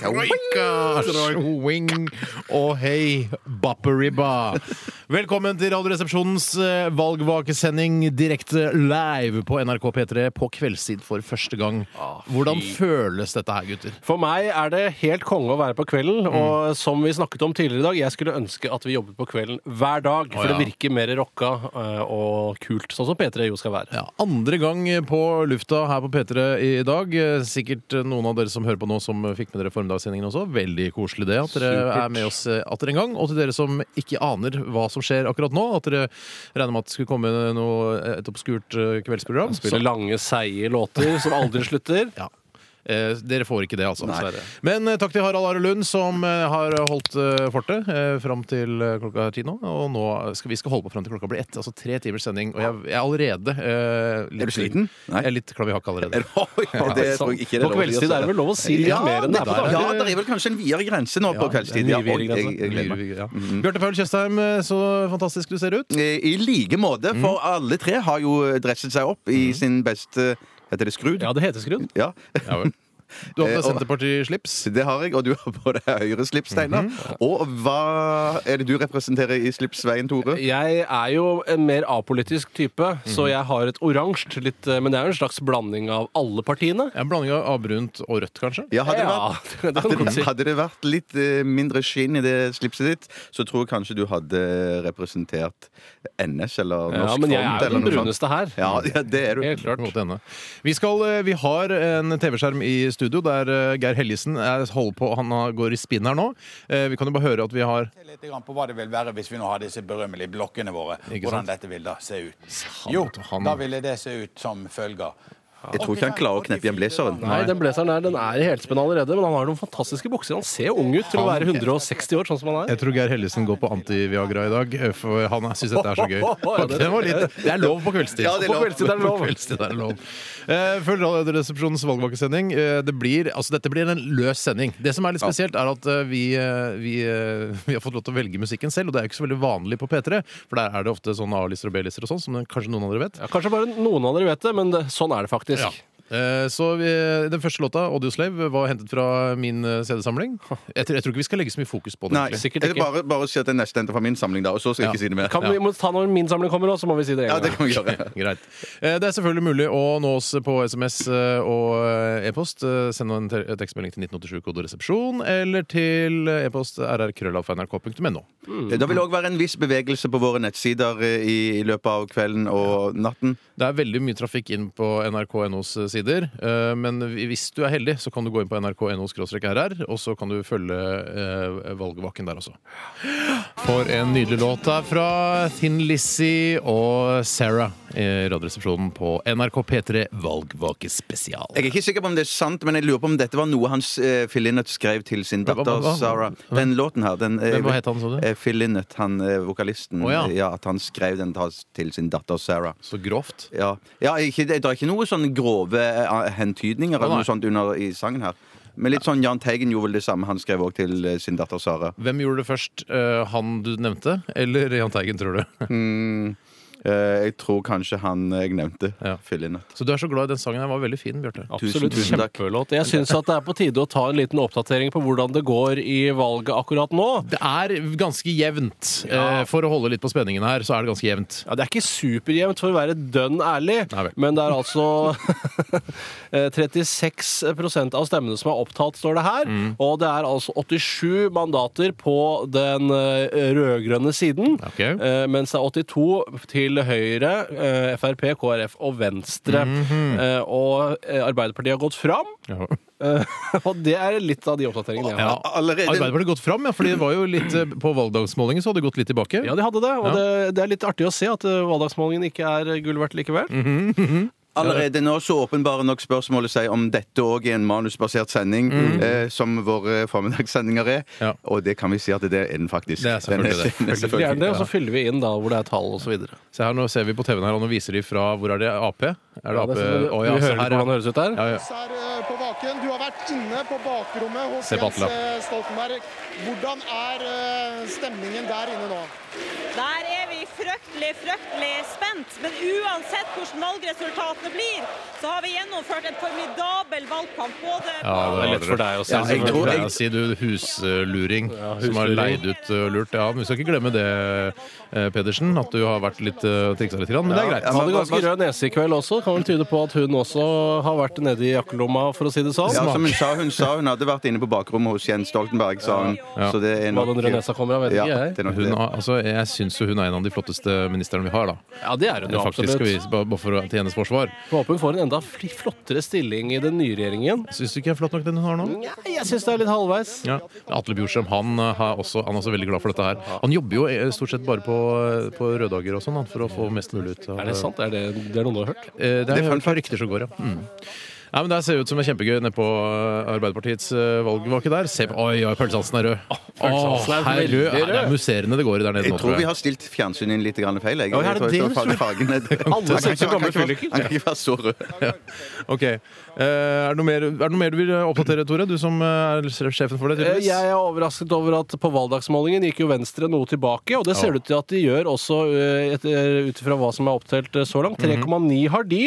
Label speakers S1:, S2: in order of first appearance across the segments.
S1: Troika, swing og hei, bapperibba. Velkommen til Radioresepsjonens eh, valgvakesending direkte live på NRK P3 på kveldstid for første gang. Hvordan føles dette her, gutter?
S2: For meg er det helt konge å være på kvelden.
S3: Mm.
S2: Og som vi snakket om tidligere i dag, jeg skulle ønske at vi jobbet på kvelden hver dag. For
S1: Å, ja.
S2: det virker mer rocka eh, og kult, sånn som P3 jo skal være.
S1: Ja, andre gang på lufta her på P3 i dag. Eh, Sikkert noen av dere som hører på nå, som fikk med dere formiddagssendingen også. Veldig koselig det, at dere er med oss eh, atter en gang. Og til dere som ikke aner hva som skjer akkurat nå, at dere regner med at det skulle komme noe, et obskurt eh, kveldsprogram.
S2: Spille lange, seige låter som aldri slutter.
S1: Ja. Eh, dere får ikke det, altså. dessverre. Men eh, takk til Harald Are Lund, som eh, har holdt eh, fortet eh, fram til eh, klokka er ti nå. Og nå skal vi skal holde på fram til klokka blir ett. Altså tre timers sending. Og jeg, jeg er allerede eh, litt,
S3: Er du sliten? Nei.
S1: Jeg er litt klaviakk allerede.
S3: Ja, det tror jeg ikke det
S2: På kveldstid er det vel lov å si litt
S3: altså. ja,
S2: mer enn det er på
S1: der.
S3: Ja,
S2: dagen.
S3: det er vel kanskje en videre grense nå på
S1: Ja,
S3: kveldstid.
S2: det er
S3: Ja,
S2: en mye
S3: og jeg,
S2: videre
S3: jeg gleder meg. Mm.
S1: Ja. Bjarte Paul Tjøstheim, eh, så fantastisk du ser ut.
S3: Eh, I like måte,
S2: Mm.
S3: for alle tre har jo dresset seg opp i sin beste Heter det skrud?
S2: Ja, det heter skrudd.
S3: Ja.
S1: Ja, vel. Du har på
S3: Eh,
S1: deg
S3: og-
S1: Senterparti-slips.
S3: Det har jeg, og du har på deg høyre slips, Steinar.
S2: Mm-hmm.
S3: Og hva er det du representerer i slipsveien, Tore?
S2: Jeg er jo en mer apolitisk type, så
S3: Mhm.
S2: jeg har et oransje litt eh, Men det er jo en slags blanding av alle partiene.
S1: En blanding av avbrunt og rødt, kanskje.
S3: Ja, hadde, det
S2: Ja,
S3: vært,
S2: det kan du godt si.
S3: hadde, hadde det vært litt eh, mindre skinn i det slipset ditt, så tror jeg kanskje du hadde representert NS eller Norsk
S2: Ja, men jeg er
S3: Front
S2: jo
S3: eller
S2: den
S3: noe sånt.
S2: bruneste her.
S3: Ja, ja, det er du.
S2: Helt
S1: på en
S2: klart.
S1: måte ende. Vi, skal, eh, vi har en TV-skjerm i studio der eh, Geir Helgesen er, holder på, han har- går i spinn her nå. Eh, Vi kan jo bare høre at vi har
S4: Se litt grann på hva det vil være hvis vi nå har disse berømmelige blokkene våre.
S1: Ikke
S4: Hvordan
S1: sant?
S4: dette vil da se ut. Jo,
S1: han-
S4: da ville det se ut som følger.
S3: Jeg tror ikke han klarer å kneppe igjen blazeren.
S2: Nei, den blazeren her, den er i helspenn allerede, men han har noen fantastiske bukser. Han ser ung ut til å være 160 år, sånn som han
S1: Jeg
S2: er.
S1: tror Geir Helgesen går på anti-Viagra i dag, eh, for han syns dette er så gøy.
S2: Ja, det-
S1: Det, var litt, det er lov på kveldstid.
S3: Ja, det er lov.
S1: På kveldstid er det lov. På kveldstid er det lov. Eh, Følg Radioresepsjonens valgvakesending. Eh, Det blir, altså, dette blir en løs sending. Det som er litt spesielt, er at eh, vi, eh, vi, eh, vi har fått lov til å velge musikken selv, og det er jo ikke så veldig vanlig på P3, for der er det ofte sånne A-lister og B-lister og sånn, som kanskje noen av dere vet.
S2: Ja, kanskje bare noen av dere vet det, men det, sånn er det faktisk.
S1: Ja. Eh, Så vi, Den første låta, 'Audioslave', var hentet fra min eh, CD-samling. Jeg, tror- jeg tror ikke vi skal legge så mye fokus på det.
S3: Nei,
S1: egentlig.
S2: Sikkert
S3: jeg vil
S2: ikke.
S3: bare, bare si at det er neste endte fra min samling, da, og så skal jeg ikke si det mer.
S2: Kan vi må ta når min samling kommer òg, så må vi si det
S3: Ja,
S2: en
S3: det
S2: gang.
S3: kan vi gjøre.
S1: Greit. Eh, Det er selvfølgelig mulig å nå oss på SMS eh, og eh, e-post. Eh, Send en te- tekstmelding til 1987 kode resepsjon, eller til eh, e-post rrkrøllalfa.nrk.no.
S3: Det vil òg være en viss bevegelse på våre nettsider eh, i, i løpet av kvelden og natten.
S1: Det er veldig mye trafikk inn på nrk.nos sider, eh, men hvis du er heldig, så kan du gå inn på nrk.no-rr, og så kan du følge eh, valgvaken der også. For en nydelig låt der fra Thin Lizzie og Sarah i Radioresepsjonen på NRK P3 Valgvakespesial.
S3: Jeg er ikke sikker på om det er sant, men jeg lurer på om dette var noe hans eh, Phil Lynott skrev til sin
S1: Hva- hva-
S3: datter
S1: hva-
S3: Sarah. Den låten her. Den, eh,
S1: Men hva het han, sa du?
S3: eh, Phil Lynott, han eh, vokalisten.
S1: Å, ja.
S3: Eh, ja, At han skrev den tas- til sin datter Sarah.
S1: Så grovt.
S3: Ja, ja ikke, det, det er ikke noe sånn grove eh, hentydninger
S1: Å, nei.
S3: eller noe sånt under i sangen her. Men litt sånn Jahn Teigen gjorde vel det samme. Han skrev òg til eh, sin datter Sara.
S1: Hvem gjorde det først? eh, han du nevnte, eller Jahn Teigen, tror du?
S3: Eh, jeg tror kanskje han eh, jeg nevnte.
S1: Ja.
S3: Phil Lynott.
S1: Så du er så glad i den sangen. Den var veldig fin, Bjarte.
S2: Absolutt
S3: Tusen, tusen takk.
S2: kjempelåt. Jeg syns at det er på tide å ta en liten oppdatering på hvordan det går i valget akkurat nå.
S1: Det er ganske jevnt. Eh, for å holde litt på spenningen her, så er det ganske jevnt.
S2: Ja, Det er ikke superjevnt, for å være dønn ærlig,
S1: Nei vel.
S2: men det er altså eh, 36 av stemmene som er opptalt, står det her.
S1: Mm.
S2: Og det er altså 87 mandater på den eh, rød-grønne siden.
S1: Ok.
S2: eh, Mens det er 82 til Høyre, eh, Frp, KrF og Venstre.
S1: Mhm.
S2: Eh, Og eh, Arbeiderpartiet har gått fram.
S1: Ja.
S2: eh, Og det er litt av de oppdateringene jeg har.
S1: Ja.
S3: Allerede-
S1: Arbeiderpartiet har gått fram, ja, fordi det var jo litt eh, på valgdagsmålingen så hadde det gått litt tilbake.
S2: Ja, de hadde det, og
S1: Ja.
S2: det, det er litt artig å se at eh, valgdagsmålingen ikke er eh, gull verdt likevel.
S1: Mhm.
S3: Allerede nå så åpenbarer nok spørsmålet seg om dette òg er en manusbasert sending, eh, som våre formiddagssendinger er.
S1: Mm. Ja.
S3: Og det kan vi si at det er den faktisk.
S1: Det er selvfølgelig det.
S3: Den den er
S2: Selvfølgelig er det,
S3: selvfølgelig.
S2: det, og så fyller vi inn da hvor det er tall osv.
S1: Se her, nå ser vi på TV-en her, og nå viser de fra Hvor er det? Ap? Er
S2: sånn
S1: det Ap? Å, ja,
S2: Vi
S1: se her,
S2: hører hvordan det
S1: ja.
S2: høres ut der.
S1: Ja, ja.
S5: her eh, på baken. Du har vært inne på bakrommet hos
S1: Se på
S5: Jens
S1: Atle.
S5: eh, Stoltenberg. Hvordan er eh, stemningen der inne nå?
S6: Der er vi fryktelig fryktelig, fryktelig spent. Men uansett hvordan valgresultatene blir, så har vi gjennomført en formidabel valgkamp. Både
S1: Ja,
S2: Det er lett for deg å si.
S3: Ja, jeg tror-
S1: Pleier å si du husluring som har
S2: husluring.
S1: leid ut og lurt. Ja, men vi skal ikke glemme det, eh, Pedersen, at du har vært litt eh, triksa litt, grann, men det er greit.
S2: Hun hadde ganske rød nese i kveld også. Kan vel tyde på at hun også har vært nede i jakkelomma, for å si det sånn.
S3: Ja, som hun sa, hun sa hun hadde vært inne på bakrommet hos Jens Stoltenberg, sa hun.
S1: Ja.
S3: Så det er
S2: Hva
S3: nok
S2: den røde nesa kommer av, vet
S3: Ja,
S2: ikke jeg.
S3: det er nok
S1: Hun
S3: det.
S1: har, altså, jeg syns jo hun er en av de flotteste ministrene vi har, da.
S2: Ja, det er hun jo
S1: Faktisk, skal
S2: absolutt.
S1: vi, bare bare for, å- til hennes forsvar.
S2: Jeg Håper hun får en enda fl- flottere stilling i den nye regjeringen.
S1: Syns du ikke er flott nok, den hun har nå?
S2: Nei, jeg syns det er litt halvveis.
S1: Ja. Atle Bjurstrøm han, eh, har også, han er også veldig glad for dette her. Han jobber jo eh, stort sett bare på, eh, på røddager og sånn han, for å få mest mulig ut. av-
S2: Er det sant? Er det, det er noe du har hørt?
S1: Eh, Det
S3: Det
S1: er
S3: er
S1: hørt fra rykter som går, ja. Mm. Nei, men Det ser ut som det er kjempegøy nede på eh, Arbeiderpartiets eh, valgvake der. Se på, Oi, oi, pølsehalsen er rød.
S2: pølsehalsen er
S1: Åh, herre
S2: veldig
S1: rød. Nei, Det
S2: rød.
S1: er musserende det går i der nede
S3: Jeg
S1: nå,
S3: tror vi har stilt fjernsynet inn litt grann feil. Jeg,
S1: Ja, er
S3: jeg
S1: det
S3: tror jeg
S1: det
S3: står
S1: du
S3: fargen ned.
S2: Alle seks år gamle
S3: Han kan ikke være-
S2: fylliker.
S3: Han kan ikke være så rød.
S1: Ok, Eh, er, det noe mer, er det noe mer du vil oppdatere, Tore? Du som eh, er sjefen for det,
S2: Eh,
S1: tydeligvis.
S2: Jeg er overrasket over at på valgdagsmålingen gikk jo Venstre noe tilbake, og det ser det ut til at de gjør også eh, et- eh, ut ifra hva som er opptelt eh, så langt. 3,9 har de,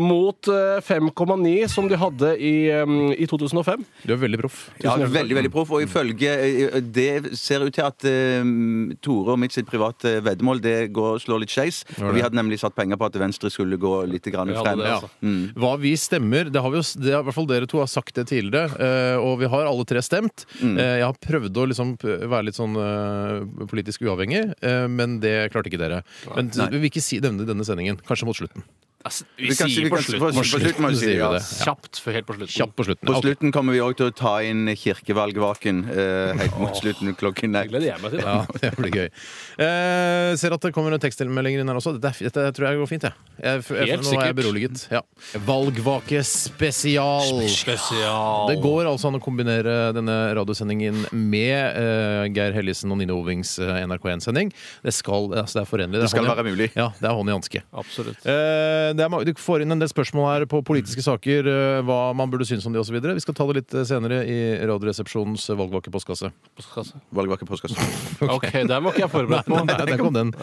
S2: mot eh, 5,9 som de hadde i, eh, i 2005.
S1: Du er veldig proff.
S3: Ja, veldig, veldig proff. Og ifølge eh, Det ser ut til at eh, Tore og mitt sitt private eh, veddemål det går, slår litt skeis. Og vi hadde nemlig satt penger på at Venstre skulle gå litt grann
S2: Vi hadde
S3: frem.
S2: det, altså.
S1: Mm. Hva vi stemmer, det har vi jo, det har, i hvert fall dere to har sagt det tidligere, eh, og vi har alle tre stemt. Eh, jeg har prøvd å liksom p- være litt sånn eh, politisk uavhengig, eh, men det klarte ikke dere. Men
S3: Nei.
S1: vi vil ikke si nevne denne sendingen. Kanskje mot slutten.
S3: Vi kan si- vi kan- på- på slutten må vi si
S1: sier
S3: det,
S1: vi
S3: ja.
S1: det.
S2: Kjapt, for helt på slutten.
S1: Kjapt på slutten.
S3: På
S1: Ok.
S3: slutten kommer vi òg til å ta inn kirkevalgvaken. eh, helt mot slutten klokken
S2: Det
S3: nei.
S2: gleder jeg meg til.
S1: Ja, det blir gøy. Eh, ser at det kommer en tekstmeldinger inn her også. Dette, dette tror jeg går fint, jeg. jeg, jeg
S2: Helt
S1: nå er jeg
S2: sikkert.
S1: beroliget. Ja. Valgvake spesial.
S2: Spesial.
S1: Det går altså an å kombinere denne radiosendingen med eh, Geir Hellisen og Nine Ovings eh, NRK1-sending. Det, skal- altså det er forenlig.
S3: Det skal
S1: hånd i-
S3: være mulig.
S1: Ja, det er hånd i hanske.
S2: Absolutt.
S1: Eh, det er, ma- du får inn en del spørsmål her på politiske saker, eh, hva man burde synes om de osv. Vi skal ta det litt eh, senere i Radioresepsjonens eh, valgvake postkasse.
S3: Valgvaken påskas.
S2: OK, der var ikke jeg forberedt på.
S1: Nei, der kom den.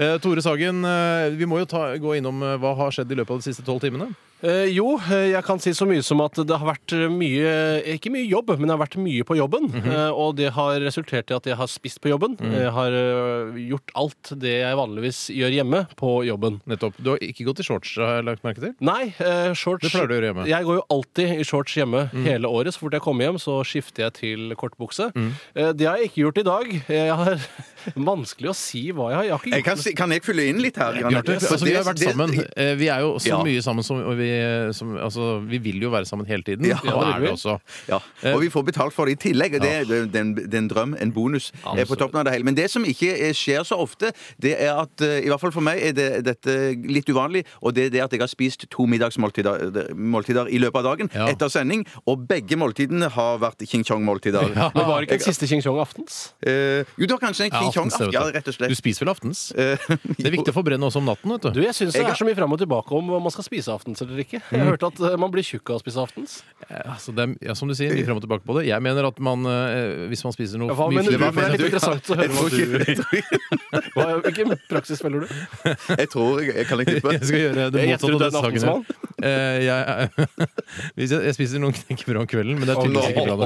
S1: Eh, Tore Sagen, eh, vi må jo ta, gå innom eh, hva har skjedd i løpet av de siste tolv timene.
S2: Eh, jo, eh, jeg kan si så mye som at det har vært eh, mye Ikke mye jobb, men det har vært mye på jobben.
S1: Mhm.
S2: Eh, og det har resultert i at jeg har spist på jobben. Jeg har eh, gjort alt det jeg vanligvis gjør hjemme, på jobben.
S1: Nettopp. Du har ikke gått i shorts, har jeg lagt merke til.
S2: Nei, eh, shorts
S1: Det pleier du å gjøre hjemme. Mhm.
S2: Jeg går jo alltid i shorts hjemme hele året. Så fort jeg kommer hjem, så skifter jeg til kortbukse.
S1: Mhm.
S2: Eh, det har jeg ikke gjort i dag. Jeg har Vanskelig å si hva jeg har. Jeg har ikke
S3: Jeg
S2: gjort
S3: kan, si- kan jeg fylle inn litt her? Jan?
S1: Bjarte,
S3: For
S1: altså, vi har vært
S3: det-
S1: sammen. Eh, Vi er jo så
S3: Ja.
S1: mye sammen som, og vi, som altså, vi vil jo være sammen hele tiden.
S3: Ja.
S1: Og
S2: Ja, det
S1: er
S2: vil
S1: det
S2: vi.
S1: også.
S3: Ja,
S1: Eh.
S3: og vi får betalt for det i tillegg. Og det, er- det, er en- det er en drøm, en bonus eh, på toppen av det hele. Men det som ikke eh, skjer så ofte, det er at eh, I hvert fall for meg er det, dette litt uvanlig, og det er det at jeg har spist to middagsmåltider eh, måltider i løpet av dagen
S1: Ja.
S3: etter sending, og begge måltidene har vært King Chong-måltider.
S2: Men var det ikke den siste Ching Chong aftens?
S3: Eh, jo, det var kanskje en King Chong.
S1: aftens, det,
S3: Ja,
S1: vet du.
S3: rett og slett.
S1: Du spiser vel aftens?
S3: Eh,
S1: Det er viktig å forbrenne også om natten. vet
S2: Du,
S1: du.
S2: Jeg syns det er så mye fram og tilbake om hva man skal spise aftens eller ikke. Jeg hørte at eh, man blir tjukk av å spise aftens.
S1: Altså, det er, ja, som du sier, mye frem og tilbake på det. Jeg mener at man, eh, hvis man spiser noe
S2: Hva
S1: mye
S2: mener du?
S1: flere-
S2: Det er litt interessant å
S3: Jeg
S2: høre hva du
S3: tror ikke- jeg tror ikke-
S2: hva, Hvilken praksis følger du?
S3: Jeg tror jeg, jeg kan ikke tippe.
S1: Jeg skal gjøre det
S2: Jeg gjetter
S1: motsatte
S2: du
S1: av det
S2: er en
S1: Sagen gjør. Eh, jeg, hvis jeg, jeg spiser noen knekkebrød om kvelden, men det er tydeligvis ikke bra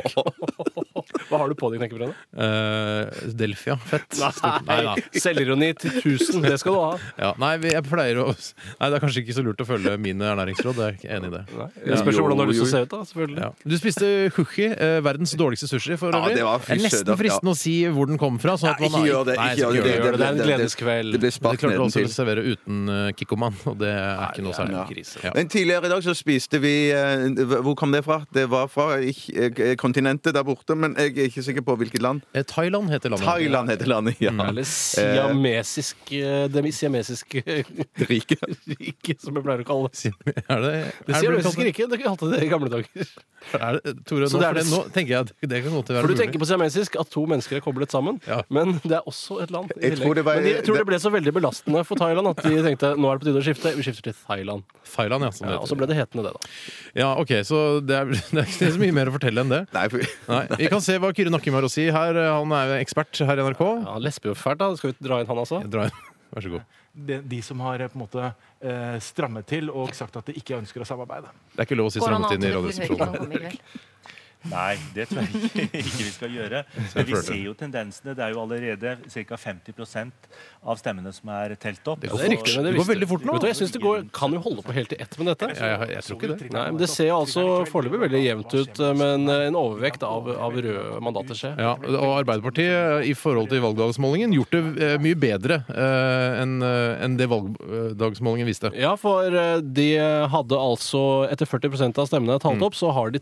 S1: nok.
S2: Hva har du på deg, knekkebrødet?
S1: Eh, Delfia fett. da.
S2: Selvironi til 1000, det skal du ha.
S1: Ja, nei, vi- jeg pleier å Nei, det er kanskje ikke så lurt å følge mine ernæringsråd. Jeg er enig i det.
S2: Det spørs jo hvordan du har lyst til å
S3: Jo,
S2: se ut, da. selvfølgelig
S1: Ja. Du spiste kushi, eh, verdens dårligste sushi. For
S3: Ja,
S1: øvrig.
S3: det var
S1: det er nesten
S3: sødert, ja.
S1: fristende å si hvor den kom fra. Sånn at
S3: Nei,
S1: man
S3: Ikke gjør det.
S1: Nei,
S3: Ikke
S1: jeg skal
S3: gjør
S1: ikke
S3: det.
S1: gjøre
S2: det. Det er en gledeskveld.
S3: Det blir
S1: Men Det
S3: spart
S1: klarte du altså å
S3: nedentil.
S1: servere uten eh, Kikkoman, og det er ikke noe
S2: det er
S1: særlig.
S2: en
S1: krise.
S2: krise.
S1: Ja.
S3: Men tidligere i dag så spiste vi eh, Hvor kom det fra? Det var fra ikk- eh, kontinentet der borte, men jeg er ikke sikker på hvilket land.
S1: Eh, Thailand heter landet.
S3: Thailand heter landet. Ja.
S1: Mm.
S2: Eller siamesisk eh, Det siamesiske
S3: Riket.
S2: riket, eh, som jeg pleier å kalle det.
S1: Sier- Er det,
S2: Det
S1: er det, sånn-
S2: siamesiske riket, det kalte det i gamle dager.
S1: er det, Tore, nå,
S2: Så det
S1: for
S2: er
S1: det,
S2: det-
S1: nå tenker jeg at det kan godt være
S2: For du
S1: mulig.
S2: tenker på siamesisk at to mennesker er koblet sammen,
S1: Ja.
S2: men det er også et land. i
S3: Jeg tror
S2: tillegg.
S3: det var-
S2: men de, jeg tror det ble så veldig belastende for Thailand at de tenkte nå er det på tide å skifte. Vi skifter til Thailand.
S1: Thailand, ja. Som
S2: Ja,
S1: det
S2: og
S3: altså-
S1: heter.
S2: så ble det hetende det, da.
S1: Ja, ok, så det er, det er ikke så mye mer å fortelle enn det.
S3: Nei, for...
S1: Nei, Vi kan se hva Kyrre Nakkim har å si her. eh, Han er jo ekspert her i NRK.
S2: Ja, Han lesber jo fælt, da. Skal vi dra inn han, altså?
S1: Jeg drar inn Vær så god.
S7: de, de som har eh, på en måte eh, strammet til og sagt at de ikke ønsker å samarbeide.
S1: Det er ikke lov å si
S8: Går han an
S1: strammet inn i
S8: til å bli høy når han
S1: Radioresepsjonen.
S8: kommer i kveld?
S9: Nei, det tror jeg ikke, ikke vi skal gjøre. Men vi
S1: flørter.
S9: ser jo tendensene. Det er jo allerede ca. 50 av stemmene som er telt opp.
S1: går
S2: Det er riktig, men det
S1: Det går
S2: visste-
S1: veldig fort nå.
S2: Vet du, hva, jeg synes det går, kan jo holde på helt til ett med dette.
S1: Jeg, jeg, jeg tror ikke det.
S2: Nei, men Det ser altså foreløpig veldig jevnt ut, men eh, en overvekt av, av røde mandater skjer.
S1: Ja, og Arbeiderpartiet eh, i forhold til valgdagsmålingen gjort det eh, mye bedre eh, enn eh, enn det valgdagsmålingen viste.
S2: Ja, for eh, de hadde altså Etter 40 av stemmene talt opp, så har de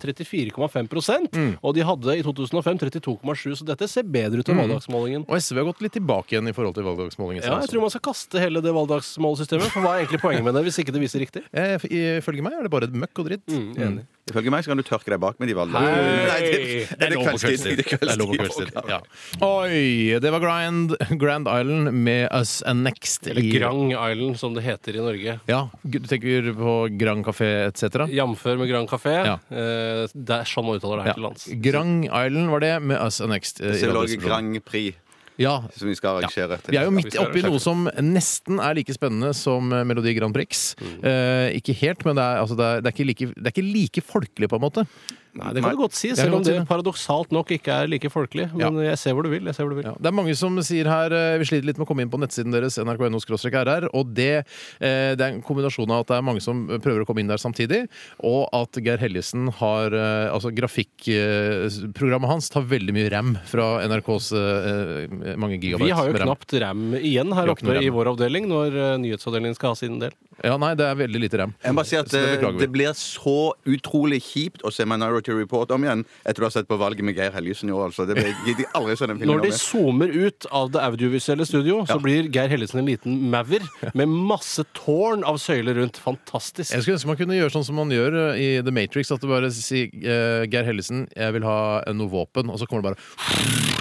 S2: 34,5 Og de hadde i 2005 32,7 så dette ser bedre ut enn valgdagsmålingen.
S1: Og SV har gått litt tilbake igjen i forhold til valgdagsmålingen. altså.
S2: Ja, jeg tror man skal kaste hele det valgdagsmålsystemet, for hva er egentlig poenget med det hvis ikke det viser riktig?
S1: Eh, f- Ifølge meg er det bare møkk og dritt.
S2: Enig.
S3: Ifølge meg så kan du tørke deg bak med de valgene.
S2: Hei!
S3: Nei,
S1: Det er lov på kveldstid. Det er lov på kveldstid. Ja. Oi! Det var Grand, Grand Island med Us and Next.
S2: Eller
S1: i-
S2: Grang Island, som det heter i Norge.
S1: Ja, Du tenker på Grand Café etc.?
S2: Jamfør med Grand Café.
S1: Ja.
S2: Eh, Det er sånn man uttaler det her
S1: Ja.
S2: til lands.
S1: Grand Island var det, med Us and Next. eh, i
S3: Det er vel også
S1: Radioresepsjonen.
S3: Grand Prix
S1: Ja,
S3: som vi skal arrangere.
S1: Vi er jo midt
S2: vi skal
S1: oppi
S2: sjekke.
S1: noe som nesten er like spennende som eh, Melodi Grand Prix.
S2: Mm.
S1: Eh, ikke helt, men det er, altså, det, er, det, er ikke like, det er ikke like folkelig, på en måte.
S2: Nei, det kan du godt si,
S1: kan
S2: selv om
S1: godt si
S2: det
S1: det.
S2: paradoksalt nok ikke er like folkelig. Men jeg ser hvor du vil. jeg ser hvor du vil.
S1: Ja, det er mange som sier her eh, Vi sliter litt med å komme inn på nettsiden deres, nrk.no-rr. Og det, eh, det er en kombinasjon av at det er mange som prøver å komme inn der samtidig, og at Geir Helgesen har eh, Altså grafikkprogrammet hans tar veldig mye ram fra NRKs eh, mange gigabyte.
S2: Vi har jo
S1: med RAM.
S2: knapt ram igjen
S1: Vi
S2: her
S1: har ikke noe
S2: oppe i
S1: RAM.
S2: vår avdeling når eh, nyhetsavdelingen skal ha sin del.
S1: Ja, nei, det er veldig lite ram.
S3: Jeg må bare si at
S1: Så det
S3: eh,
S1: beklager vi.
S3: det blir så utrolig kjipt å se Minority Report om igjen etter du har sett på valget med Geir Helgesen i år. Altså. Det blir, jeg gidder aldri se den filmen
S2: Når
S3: om
S2: de
S3: igjen.
S2: zoomer ut av det audiovisuelle studio, så blir Geir Hellesen en liten maur med masse tårn av søyler rundt. Fantastisk.
S1: Jeg skulle ønske man kunne gjøre sånn som man gjør eh, i The Matrix. At du bare sier eh, Geir Hellesen, jeg vil ha eh, noe våpen. Og så kommer det bare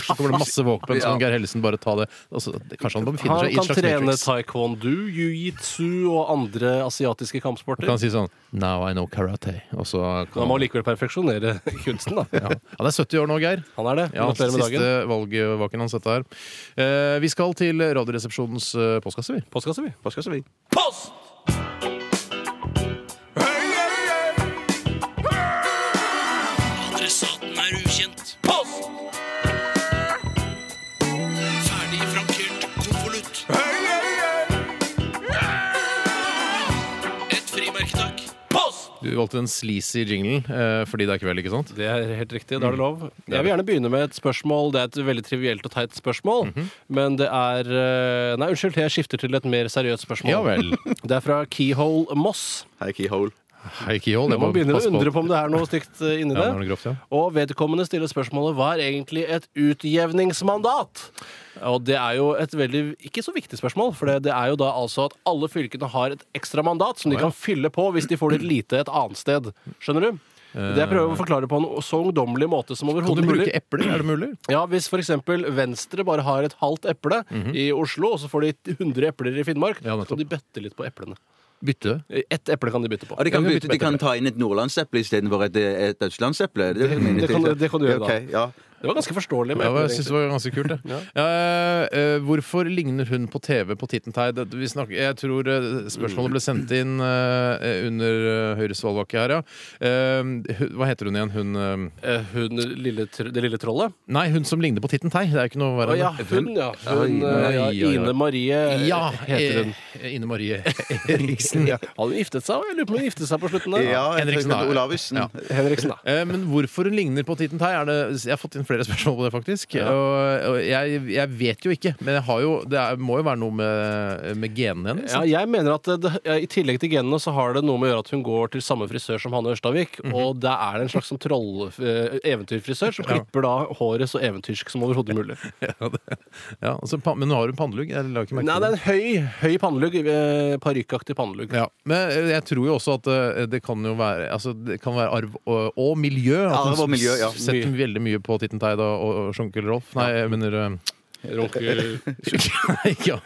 S1: Så kommer det masse våpen, så kan Geir Hellesen bare ta det. Og så, kanskje han bare befinner
S2: Han
S1: seg i
S2: kan
S1: et slags
S2: trene
S1: Matrix.
S2: taekwondo, jiu-jitsu og andre asiatiske
S1: Kan
S2: kampsporter.
S1: han si sånn Now I know karate. Og så
S2: Han
S1: kan
S2: må likevel perfeksjonere kunsten, da.
S1: ja. Han er 70 år nå, Geir.
S2: Han er det.
S1: Ja,
S2: Gratulerer med
S1: siste
S2: dagen.
S1: valgvaken hans, dette her. Eh, vi skal til Radioresepsjonens eh, postkasse, vi.
S2: Postkasse, vi.
S3: Hva skal så vi?
S1: Du valgte den sleazy jinglen eh, fordi det er kveld, ikke sant?
S2: Det er helt riktig. Da er det lov. Mm. Jeg vil gjerne begynne med et spørsmål. Det er et veldig trivielt og teit spørsmål. Men det er eh, Nei, unnskyld, jeg skifter til et mer seriøst spørsmål.
S1: Ja vel.
S2: Det er fra Keyhole Moss.
S3: Hei, Keyhole.
S1: Hei, Kihol.
S2: Man begynner å undre på om det er noe stygt eh, inni
S1: Ja, nå er det grovt, ja.
S2: det. Og vedkommende stiller spørsmålet hva er egentlig et utjevningsmandat? Og det er jo et veldig ikke så viktig spørsmål, for det det er jo da altså at alle fylkene har et ekstra mandat som de kan fylle på hvis de får litt lite et annet sted. Skjønner du? Det jeg prøver å forklare på en så ungdommelig måte som
S1: Kan du
S2: overhodet mulig.
S1: bruke epler? Er det mulig?
S2: Ja, Hvis f.eks. Venstre bare har et halvt eple i Oslo, og så får de 100 epler i Finnmark,
S1: Ja,
S2: så
S1: nettopp.
S2: kan de bøtte litt på eplene.
S1: Bytte?
S2: Ett eple kan de bytte på.
S3: Og de kan,
S1: Ja, vi
S3: bytte,
S1: bytter
S3: de kan ta inn et nordlandseple istedenfor et, eh, et østlandseple? Det, er mine
S2: det kan-
S3: ting.
S2: det kan du gjøre, da.
S3: Ok, ja.
S2: Det var ganske forståelig. Med
S1: Ja,
S2: epler,
S1: jeg synes det var ganske kult, det. Eh, eh, hvorfor ligner hun på TV på Tittentei? Det- vi snakker- Jeg tror eh, spørsmålet ble sendt inn eh, under eh, Høyres valgvake her, ja. Eh, hun- hva heter hun igjen? Hun eh,
S2: Eh, hun, lille, tr- det lille trollet?
S1: Nei, hun som ligner på Tittentei. Det er jo ikke noe verre
S2: Å
S1: enn
S2: ja,
S1: det.
S2: hun, ja. Hun,
S1: Oi,
S2: eh, ja
S1: oi, oi.
S2: Ine Marie eh,
S1: Ja,
S2: heter hun.
S1: eh, Ine Marie Eriksen. ja.
S2: Hadde hun giftet seg? Jeg lurer på om hun giftet seg på slutten der.
S3: ja
S1: Henriksen, da.
S3: Olavisen.
S1: Ja.
S2: Henriksen, da.
S1: Eh, Men hvorfor hun ligner på Titten Tei? er det- Jeg har fått inn flere spørsmål på det, faktisk. Og, og jeg, jeg vet jo ikke, men jeg har jo, det er, må jo være noe med, med genene hennes.
S2: Ja, jeg mener at eh, det, det, I tillegg til genene så har det noe med å gjøre at hun går til samme frisør som Hanne Ørstavik.
S1: Mhm.
S2: Og da er det en slags sånn troll eh, eventyrfrisør som klipper da håret så eventyrsk som overhodet mulig.
S1: Ja, det- ja, altså, pan- men nå har hun pannelugg. Jeg la ikke merke
S2: Nei,
S1: til
S2: det er en høy, høy pannelugg. eh, Parykkaktig pannelugg.
S1: Ja, men jeg tror jo også at eh, det kan jo være altså det kan være arv og, og miljø. At
S3: Arv og
S1: hun s-
S3: miljø, ja.
S1: Setter veldig mye på Titten Tei da, og, og Sjunkel Rolf. Nei, jeg mener eh,
S2: Runke
S1: ja.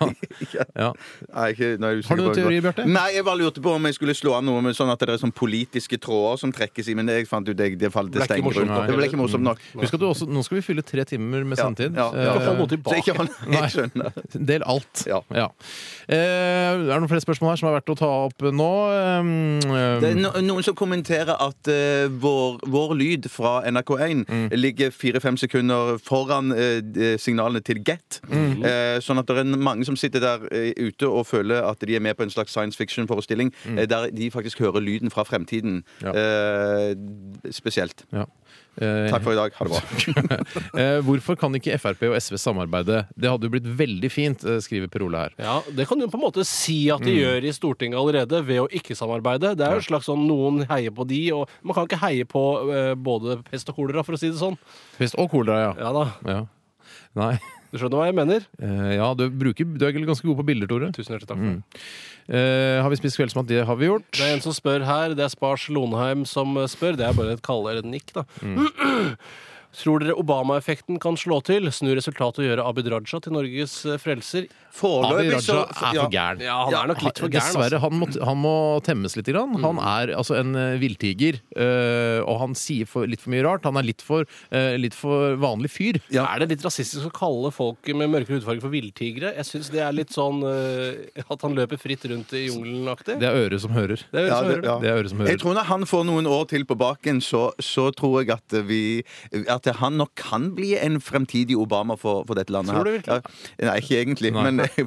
S1: ja.
S3: Nei, ikke, nå er jeg usikker
S1: Har du noen
S3: på-
S1: teori, Bjarte?
S3: Nei, jeg bare lurte på om jeg skulle slå an noe med sånn at det er sånn politiske tråder som trekkes i, men det fant ut jeg, det falt det
S2: Ble ikke
S3: stenger
S2: morsomt
S3: rundt.
S1: nok,
S3: Det ble ikke morsomt nok.
S1: Husk at du også, nå skal vi fylle tre timer med sendetid.
S3: Ja, ja, ja.
S1: Eh,
S2: hold noe tilbake.
S3: Så ikke hold, jeg skjønner.
S1: Del alt.
S3: Ja.
S1: Eh, er det noen flere spørsmål her som er verdt å ta opp nå? Eh,
S3: Det er no noen som kommenterer at eh, vår, vår lyd fra NRK1
S1: Mm.
S3: ligger fire-fem sekunder foran eh, de- signalene til Get.
S1: Mm.
S3: Eh, sånn at det er mange som sitter der eh, ute og føler at de er med på en slags science fiction-forestilling,
S1: Mm.
S3: eh, der de faktisk hører lyden fra fremtiden.
S1: Ja.
S3: Eh, spesielt.
S1: ja. Eh,
S3: Takk for i dag. Ha det bra.
S1: eh, hvorfor kan ikke Frp og SV samarbeide? Det hadde jo blitt veldig fint, eh, skriver Per Ole her.
S2: Ja, Det kan du på en måte si at de gjør i Stortinget allerede, ved å ikke samarbeide. Det er jo et slags sånn noen heier på de, og man kan ikke heie på eh, både pest og kolera, for å si det sånn.
S1: Pest og kolera, ja.
S2: Ja da,
S1: ja. Nei.
S2: Du skjønner hva jeg mener?
S1: Eh, ja, du, bruker, du er ganske god på bilder, Tore.
S2: Tusen hjertelig takk. for det.
S1: Eh, har vi spist kveldsmat? Det har vi gjort.
S2: Det er en som spør her. Det er Spars Lonheim som eh, spør. Det er bare et kalle eller et nikk, da. Tror dere Obama-effekten kan slå til? Snu resultatet og gjøre Abid Raja til Norges eh, frelser?
S1: Abid
S3: Foreløpig
S1: Raja
S3: så
S1: er
S3: ja.
S1: for gæren.
S2: Ja, han er nok litt for gæren. altså. Mm.
S1: Dessverre. Han må, han må temmes litt. Grann. Han er altså en eh, villtiger, eh, og han sier for, litt for mye rart. Han er litt for, eh, litt for vanlig fyr.
S2: Ja. Er det litt rasistisk å kalle folk med mørkere hudfarge for villtigre? Jeg syns det er litt sånn eh, at han løper fritt rundt i jungelen-aktig.
S1: Det er øret som hører.
S2: Det er jo
S3: Ja,
S2: så
S3: det-
S2: hører du.
S3: ja.
S1: Det er øret som hører.
S3: Jeg tror når han får noen år til på baken, så, så tror jeg at vi At han nok kan bli en fremtidig Obama for, for dette landet.
S2: Tror du
S3: her. Ja, nei, ikke egentlig,
S1: Nei.
S3: men jeg,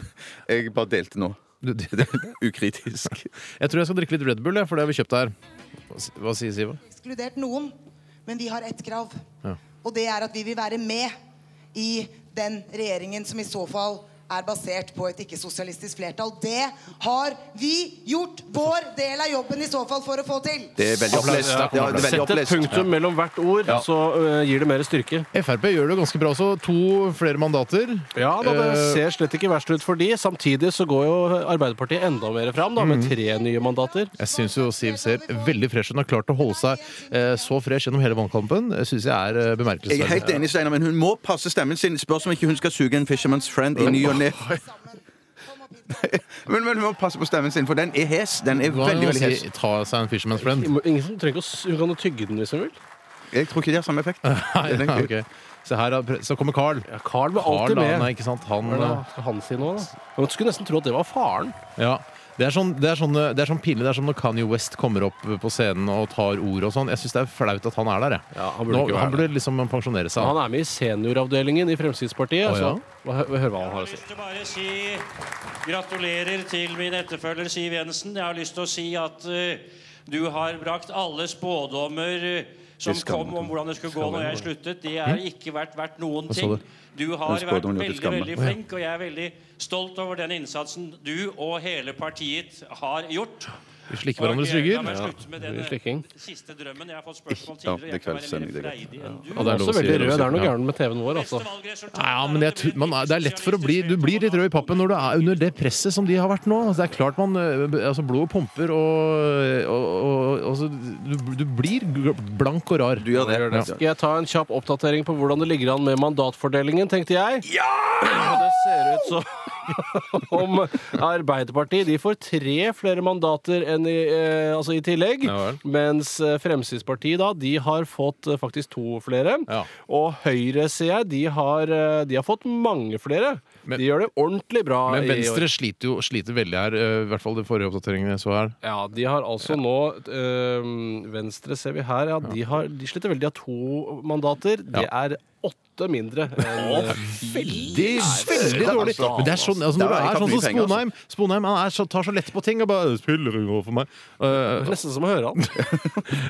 S3: jeg bare delte nå.
S1: Du- du-
S3: Det er Ukritisk.
S1: Jeg tror jeg skal drikke litt Red Bull, jeg, for det har vi kjøpt her. Hva s- Hva sier Siva?
S8: ekskludert noen, men vi har ett krav.
S1: Ja.
S8: Og det er at vi vil være med i den regjeringen som i så fall er basert på et ikke-sosialistisk flertall. Det har vi gjort vår del av jobben i så fall for å få til.
S3: Det er veldig opplest. Ja, det er veldig
S2: Sett et
S3: opplest.
S2: punktum mellom hvert ord, så eh, gir det mer styrke.
S1: Frp gjør det jo ganske bra også. To flere mandater.
S2: Ja, da, Det
S1: Eh,
S2: ser slett ikke verst ut for de. Samtidig så går jo Arbeiderpartiet enda mer fram, da, med tre nye mandater.
S1: Jeg syns jo Siv ser veldig fresh ut. Hun har klart å holde seg eh, så fresh gjennom hele valgkampen. Det syns jeg er eh,
S3: Jeg er helt
S1: bemerkelsesverdig.
S3: enig, Steinar, men hun må passe stemmen sin. Spørs om ikke hun skal suge en Fisherman's Friend i ny og ne. Men, men hun må passe på stemmen sin, for den er hes. Den er
S1: Hun kan
S3: veldig,
S1: jo
S3: veldig hes.
S1: si, ta seg en Fisherman's Friend.
S2: Ingen som trenger å s- Hun kan jo tygge den hvis hun vil.
S3: Jeg tror ikke det har samme effekt.
S1: Nei,
S3: Det er
S1: nei,
S3: den-
S1: ok. Se her, er pre- så kommer Carl.
S2: Ja, Carl var
S1: Carl,
S2: alltid
S1: da,
S2: med.
S1: nei, ikke sant? Han,
S2: Hva er det
S1: eh,
S2: skal han si nå, da? Man skulle nesten tro at det var faren.
S1: ja. Det er sånn, det er sånn, eh, det er sånn pinlig. Det er som når Kanye West kommer opp på scenen og tar ordet og sånn. Jeg syns det er flaut at han er der, jeg.
S2: Ja, han burde
S1: Nå,
S2: ikke være
S1: han burde liksom pensjonere seg.
S2: Han er med i senioravdelingen i Fremskrittspartiet.
S1: Å, ja.
S2: Så hør, hør hva han har å si.
S10: Jeg har lyst til bare å si gratulerer til min etterfølger Siv Jensen. Jeg har lyst til å si at eh, du har brakt alle spådommer eh, som
S3: Det skal
S10: kom
S3: man- Hm?
S10: om hvordan det skulle gå når jeg sluttet. Det har ikke vært verdt noen
S1: sa
S10: ting.
S1: du?
S10: Du har
S3: Den
S10: vært
S3: spådommen gjorde
S10: veldig,
S3: til skamme.
S10: veldig
S1: Å, ja.
S10: flink, og jeg er veldig stolt over den innsatsen du og hele partiet har gjort. eh,
S1: Vi slikker hverandres rygger.
S2: mye slikking.
S10: Slikking. Siste drømmen. Jeg har fått spørsmål
S3: Ja,
S10: tidligere.
S3: det er
S10: Jeg kan være
S3: kveldssending,
S10: mer
S3: det er
S10: freidig enn du.
S1: Og det er lov å
S2: Også
S1: si
S2: veldig
S1: det,
S2: rød. Det er noe
S1: ja.
S2: gærent med TV-en vår, altså.
S10: Beste valgresultat
S1: Ja, men jeg, tror- man, er- det er lett for å bli Du blir litt rød i pappen når du er under det presset som de har vært nå. Det er klart man eh, Altså, blodet pumper og, og, og altså, du, du blir gl- blank og rar.
S3: Du gjør det.
S1: Ja.
S2: Skal jeg ta en kjapp oppdatering på hvordan det ligger an med mandatfordelingen, tenkte jeg? Ja! Det ser ut som om Arbeiderpartiet de får tre flere mandater enn i, eh, altså i tillegg.
S1: Ja vel.
S2: mens eh, Fremskrittspartiet da, de har fått eh, faktisk to flere.
S1: Ja.
S2: Og Høyre, ser jeg, de har, eh, de har fått mange flere.
S1: Men-
S2: de gjør det ordentlig bra.
S1: Men
S2: i år.
S1: Venstre sliter jo sliter veldig her, eh, i hvert fall den forrige oppdateringen jeg så her.
S2: Ja, de har altså nå øhm, Venstre ser vi her, ja. De, har, de sliter veldig. De har to mandater. Det er åtte mindre. enn- eh,
S1: Veldig, veldig dårlig!
S3: altså.
S1: Men det er sånn, altså, når
S3: Det
S1: det
S3: er
S1: er sånn
S3: ikke
S1: som
S3: mye penger, altså.
S1: Sponheim Sponheim han er så, tar så lett på ting og bare 'Spiller ingen rolle for meg'. Eh,
S2: Nesten som å høre han.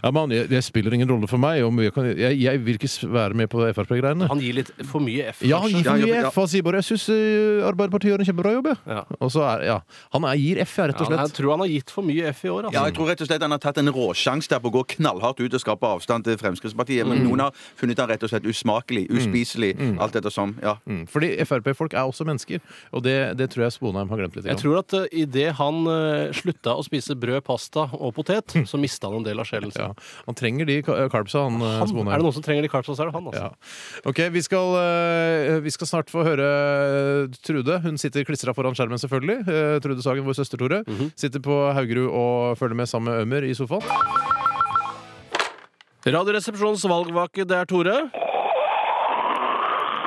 S1: ja, men han, jeg, jeg spiller ingen rolle for meg. Om jeg, kan, jeg, jeg vil ikke s- være med på Frp-greiene.
S2: Han gir litt for mye F.
S1: Ja, han gir
S2: kanskje.
S1: for
S3: Ja,
S1: mye
S3: ja, ja.
S1: F. Han sier bare 'Jeg syns Arbeiderpartiet gjør en kjempebra jobb', jeg.
S2: Ja.
S1: Og så er, ja. Han er, gir F, ja, rett og
S2: Ja, jeg
S1: slett.
S2: tror han har gitt for mye F i år.
S3: Ja,
S2: Altså.
S3: jeg tror rett og slett Han har tatt en råsjanse der på å gå knallhardt ut og skape avstand til Fremskrittspartiet. Men noen har funnet han rett og slett usmakelig Ubrukelig, uspiselig, alt etter som. Ja.
S1: Mm, Fordi Frp-folk er også mennesker, og det, det tror jeg Sponheim har glemt litt.
S2: Jeg tror at uh, idet han eh, slutta å spise brød, pasta og potet, så mista han en del av sjelen sin.
S1: Hm. ja. Han trenger de ka- carbsa, han, eh,
S2: Han,
S1: Sponheim.
S2: er det noen som trenger de carbsa, så er det han. altså.
S1: Ja. Ok, vi skal, eh, vi skal snart få høre eh, Trude. Hun sitter klistra foran skjermen, selvfølgelig. Eh, Trude Sagen, vår søster Tore.
S2: Mhm.
S1: Sitter på Haugerud og følger med sammen med Ømer i sofaen.
S2: Radioresepsjonens valgvake, det er Tore.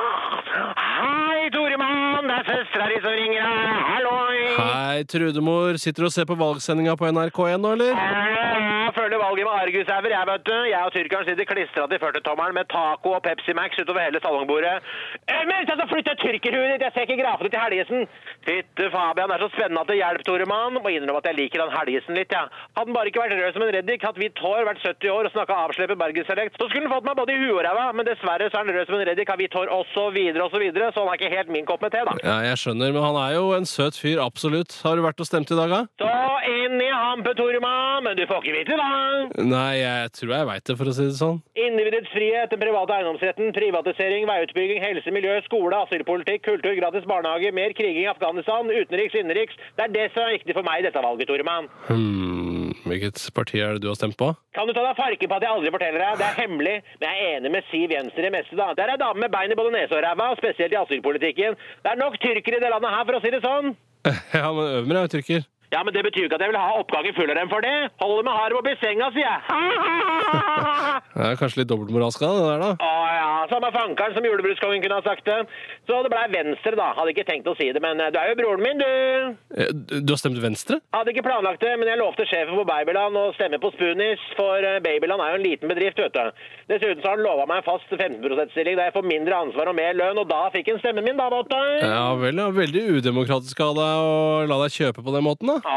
S11: Hei, Toremann! Det er søstera di som ringer deg. Halloi!
S2: Hei, Trudemor. Sitter du og ser på valgsendinga på NRK1 nå, eller?
S11: Jeg følger valget med argusauer, jeg, vet du. Jeg og tyrkeren sitter klistra til 40-tommeren med taco og Pepsi Max utover hele salongbordet. Eh, Men jeg skal flytte tyrkerhuet ditt! Jeg ser ikke grafene til Helgesen! Fytte Fabian, det er så spennende at det hjelper, Toremann. Må innrømme at jeg liker han Helgesen litt, jeg. Ja. Hadde han bare ikke vært rød som en reddik, hatt hvitt hår, vært 70 år og snakka avsleppet bergensdialekt, så skulle han fått meg både i huet og ræva, men dessverre så er han rød som en reddik, har hvitt hår og så videre og så videre, så han er ikke helt min kopp med te, da.
S2: Ja, jeg skjønner, men han er jo en søt fyr, absolutt. Har du vært og stemt i dag, da?
S11: Så inn i hampe, Torma, men du får ikke vite det, da.
S2: Nei, jeg tror jeg veit det, for å si det sånn.
S11: Individets frihet, den private eiendomsretten, privatisering, veiutbygging, helse, miljø, skole, asylpolitikk, kultur, gratis barnehage, mer kriging i Afghanistan, utenriks, innenriks. Det er det som er viktig for meg i dette valget, Tormann.
S2: Hmm, hvilket parti er det du har stemt på?
S11: Kan du ta deg farken på at jeg aldri forteller deg? Det er hemmelig, men jeg er enig med Siv Jensen i det meste, da. Det er ei dame med bein i både nese og ræva, og spesielt i asylpolitikken. Det er nok tyrkere i det landet her, for å si det sånn.
S2: Ja, men Ømer er jo tyrker.
S11: Ja, men det betyr jo ikke at jeg vil ha oppgangen full av dem for det. Holder med harem opp i senga, sier jeg.
S2: Det er kanskje litt dobbeltmoralsk, da, det der, da?
S11: Å ja, samme fankeren som julebruskongen kunne ha sagt det. Så det blei venstre, da. Hadde ikke tenkt å si det, men eh, du er jo broren min, du.
S2: Eh, Du du har stemt Venstre?
S11: Hadde ikke planlagt det, men jeg lovte sjefen på Babyland å stemme på Spoonis, for eh, Babyland er jo en liten bedrift, vet du. Dessuten så har han lova meg en fast 15 %-stilling der jeg får mindre ansvar og mer lønn, og da fikk han stemmen min, da, Botte.
S2: Ja vel, ja. Veldig udemokratisk av deg å la deg kjøpe på den måten, da.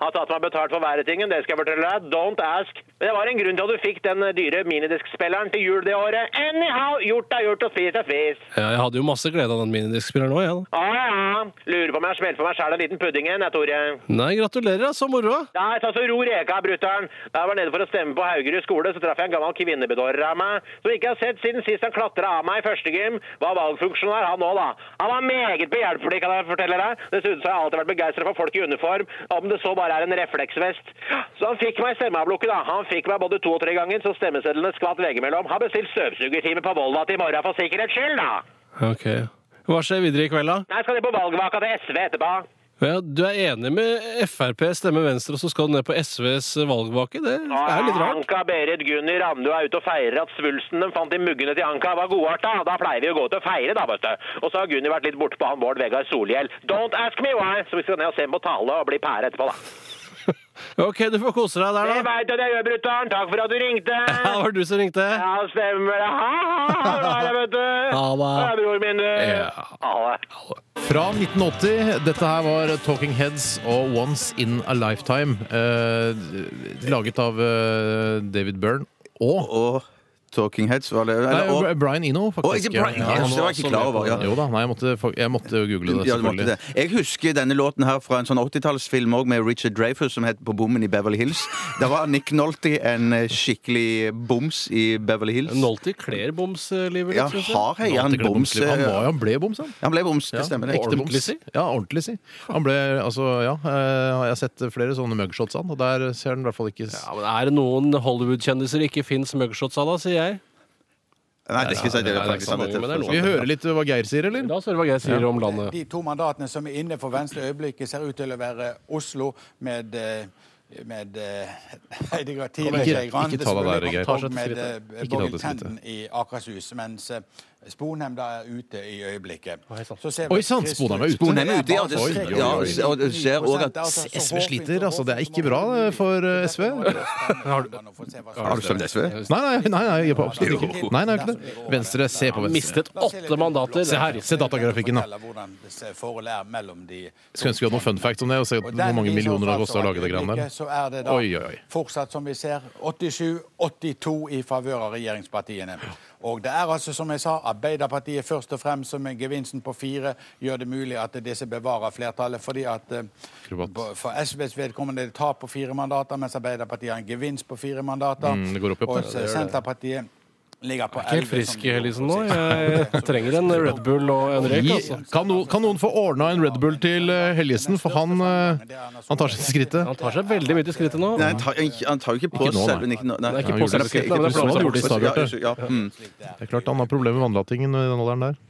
S11: Har tatt meg betalt for verre tingen, det skal jeg fortelle deg. Don't ask. Men det var en grunn til at du fikk den eh, dyre minidiskspilleren til jul det året. Anyhow, gjort er gjort, og spist er spist.
S2: Ja, jeg hadde jo masse glede av den minidiskspilleren òg, jeg, da.
S11: Ja, ja. Lurer på om jeg har smelt for meg sjæl en liten pudding igjen, jeg, Tore.
S2: Nei, gratulerer, da. Så moroa.
S11: Nei, ta så ro reka, brutter'n. Da jeg var nede for å stemme på Haugerud skole, så traff jeg en gammel kvinnebedårer av meg, som jeg ikke har sett siden sist han klatra av meg i førstegym. Var valgfunksjonær, han òg, da. Han var meget behjelpelig, kan jeg fortelle deg. Dessuten så har jeg alltid vært begeistra for folk i uniform, om det så bare er en refleksvest. Så han fikk meg i stemmeavlukket, da. Han fikk meg både to og tre ganger, så stemmesedlene skvatt veggimellom. Har bestilt støvsugertime på Volda til i morgen for sikkerhets skyld, da.
S2: Ok. Hva skjer videre i kveld, da?
S11: Nei, skal de på valgvaka til SV etterpå?
S2: Ja, du er enig med Frp, stemmer Venstre, og så skal du ned på SVs valgvake? Det er litt rart.
S11: Anka, Berit, Gunny, Randu er ute og feirer at svulsten de fant i muggene til Anka var godarta. Da pleier vi å gå ut og feire, da, vet du. Og så har Gunny vært litt borte på han Bård Vegar Solhjell. Don't ask me why! Så vi skal ned og se på tale og bli pære etterpå, da.
S2: Ok, du får kose deg
S11: Det
S2: der, da.
S11: veit du at jeg gjør, brutter'n. Takk for at du ringte.
S2: Ja, det var du som ringte.
S11: Ja, stemmer det. Ha, ha, ha, det er det, vet du.
S2: Ha det.
S11: Det er bror min, du. Ha det.
S1: Fra 1980. Dette her var Talking Heads og Once In A Lifetime. Eh, laget av eh, David Byrne og
S3: Og Talking Heads, var det
S1: Nei,
S3: eller, og,
S1: Brian Eno,
S3: Å,
S1: faktisk.
S3: ikke Brian
S1: Ja,
S3: Heads,
S1: han
S3: det
S1: var
S3: var jeg ikke klar over. Ja.
S1: Jo da, nei, jeg måtte, fa- jeg måtte google det,
S3: Ja, du måtte
S1: selvfølgelig.
S3: det. Jeg husker denne låten her fra en sånn 80-tallsfilm også med Richard Dreyfus som het På bommen i Beverly Hills. Da var Nick Nolte en eh, skikkelig boms i Beverly Hills.
S2: Nolty kler bomslivet
S3: Ja,
S2: litt, eh, synes jeg.
S3: har jeg han
S1: Alltid glede
S3: boms?
S1: bomsliv. Han, var,
S3: eh,
S1: jo- han ble boms, han.
S3: Han ble boms,
S1: Ja,
S3: det stemmer.
S1: Ekte
S3: Ordentlig.
S1: boms.
S2: si?
S1: Ja, ordentlig si. Han ble, altså, ja, eh, jeg har sett flere sånne mugshots av han, og der ser han i hvert fall ikke s-
S2: Ja, men Er det noen Hollywood-kjendiser det ikke fins mugshots av, da, sier jeg.
S3: Nei, det er ikke sant.
S2: Nei,
S3: Det er
S2: det er
S3: faktisk
S2: ikke
S3: sant.
S2: sant,
S3: Det
S2: men
S3: er
S2: det
S1: Skal vi høre litt hva Geir sier, eller?
S2: La oss høre hva jeg sier om landet.
S4: De to mandatene som er inne for Venstre i øyeblikket, ser ut til å være Oslo med eh, med eh, Heidi Gratine
S1: Ikke- ikke ta deg der, Geir.
S4: Og
S1: Ikke ta
S4: med
S1: deg
S4: eh,
S1: til
S4: Borghild
S1: skrittet.
S4: Tenden i Akershus. Mens eh, Sponheim da er ute i øyeblikket. Så ser vi
S1: Oi sann,
S4: Kristus-
S1: Sponheim er ute.
S3: Sponheim er ute, ja, det-
S4: Oi, oi, oi.
S1: ja,
S3: og du ser også at
S4: Altså, så
S1: SV
S4: håper
S1: sliter,
S4: vi-
S1: altså, det er ikke bra, det, for, eh, SV.
S4: Har du-
S3: Har du stemt SV?
S1: Nei, nei, nei, nei jeg er på absolutt ikke. Nei, nei, jeg er ikke det. Venstre, se på Venstre.
S2: Mistet åtte mandater.
S1: Se her, se datagrafikken, da.
S4: Hvordan disse forholdet er mellom de
S1: Skulle ønske vi hadde noen fun facts om det, og se
S4: Og
S1: hvor
S4: den
S1: mange
S4: viser
S1: millioner det har
S4: altså
S1: kostet å
S4: at
S1: lage det greiene
S4: øyeblikket
S1: der.
S4: Så er det da
S1: Oi, oi, oi.
S4: fortsatt, som vi ser, 87-82 i favør av regjeringspartiene. Og det er altså, som jeg sa, Arbeiderpartiet først og fremst som med gevinsten på fire gjør det mulig at disse bevarer flertallet, fordi at eh,
S1: Akrobat.
S4: bo- for SVs vedkommende er det tap på fire mandater, mens Arbeiderpartiet har en gevinst på fire mandater.
S1: Mm, det går opp i opp,
S4: og
S1: det, det gjør det.
S4: Senterpartiet Ligger på
S2: Jeg er ikke helt
S4: 11
S2: frisk i helisen nå. Jeg, jeg trenger en Red Bull og en røyk.
S1: Gi-
S2: Altså.
S1: Kan, no, kan noen få ordna en Red Bull til eh, Helgesen, for han, eh, han tar seg til skrittet?
S2: Han tar seg veldig mye til skrittet nå.
S3: Nei, han tar, han tar jo ikke på
S1: Ikke nå, nei.
S3: selve nikken-
S2: Det er
S1: Han
S2: ikke på
S1: gjorde
S2: selve
S1: det
S2: skrittet,
S1: ikke
S2: men det er
S1: på selve
S2: på selve
S1: skrittet.
S3: Ja, ja, ja. Mm.
S1: Det er klart han har problemer med vannlatingen i den alderen der.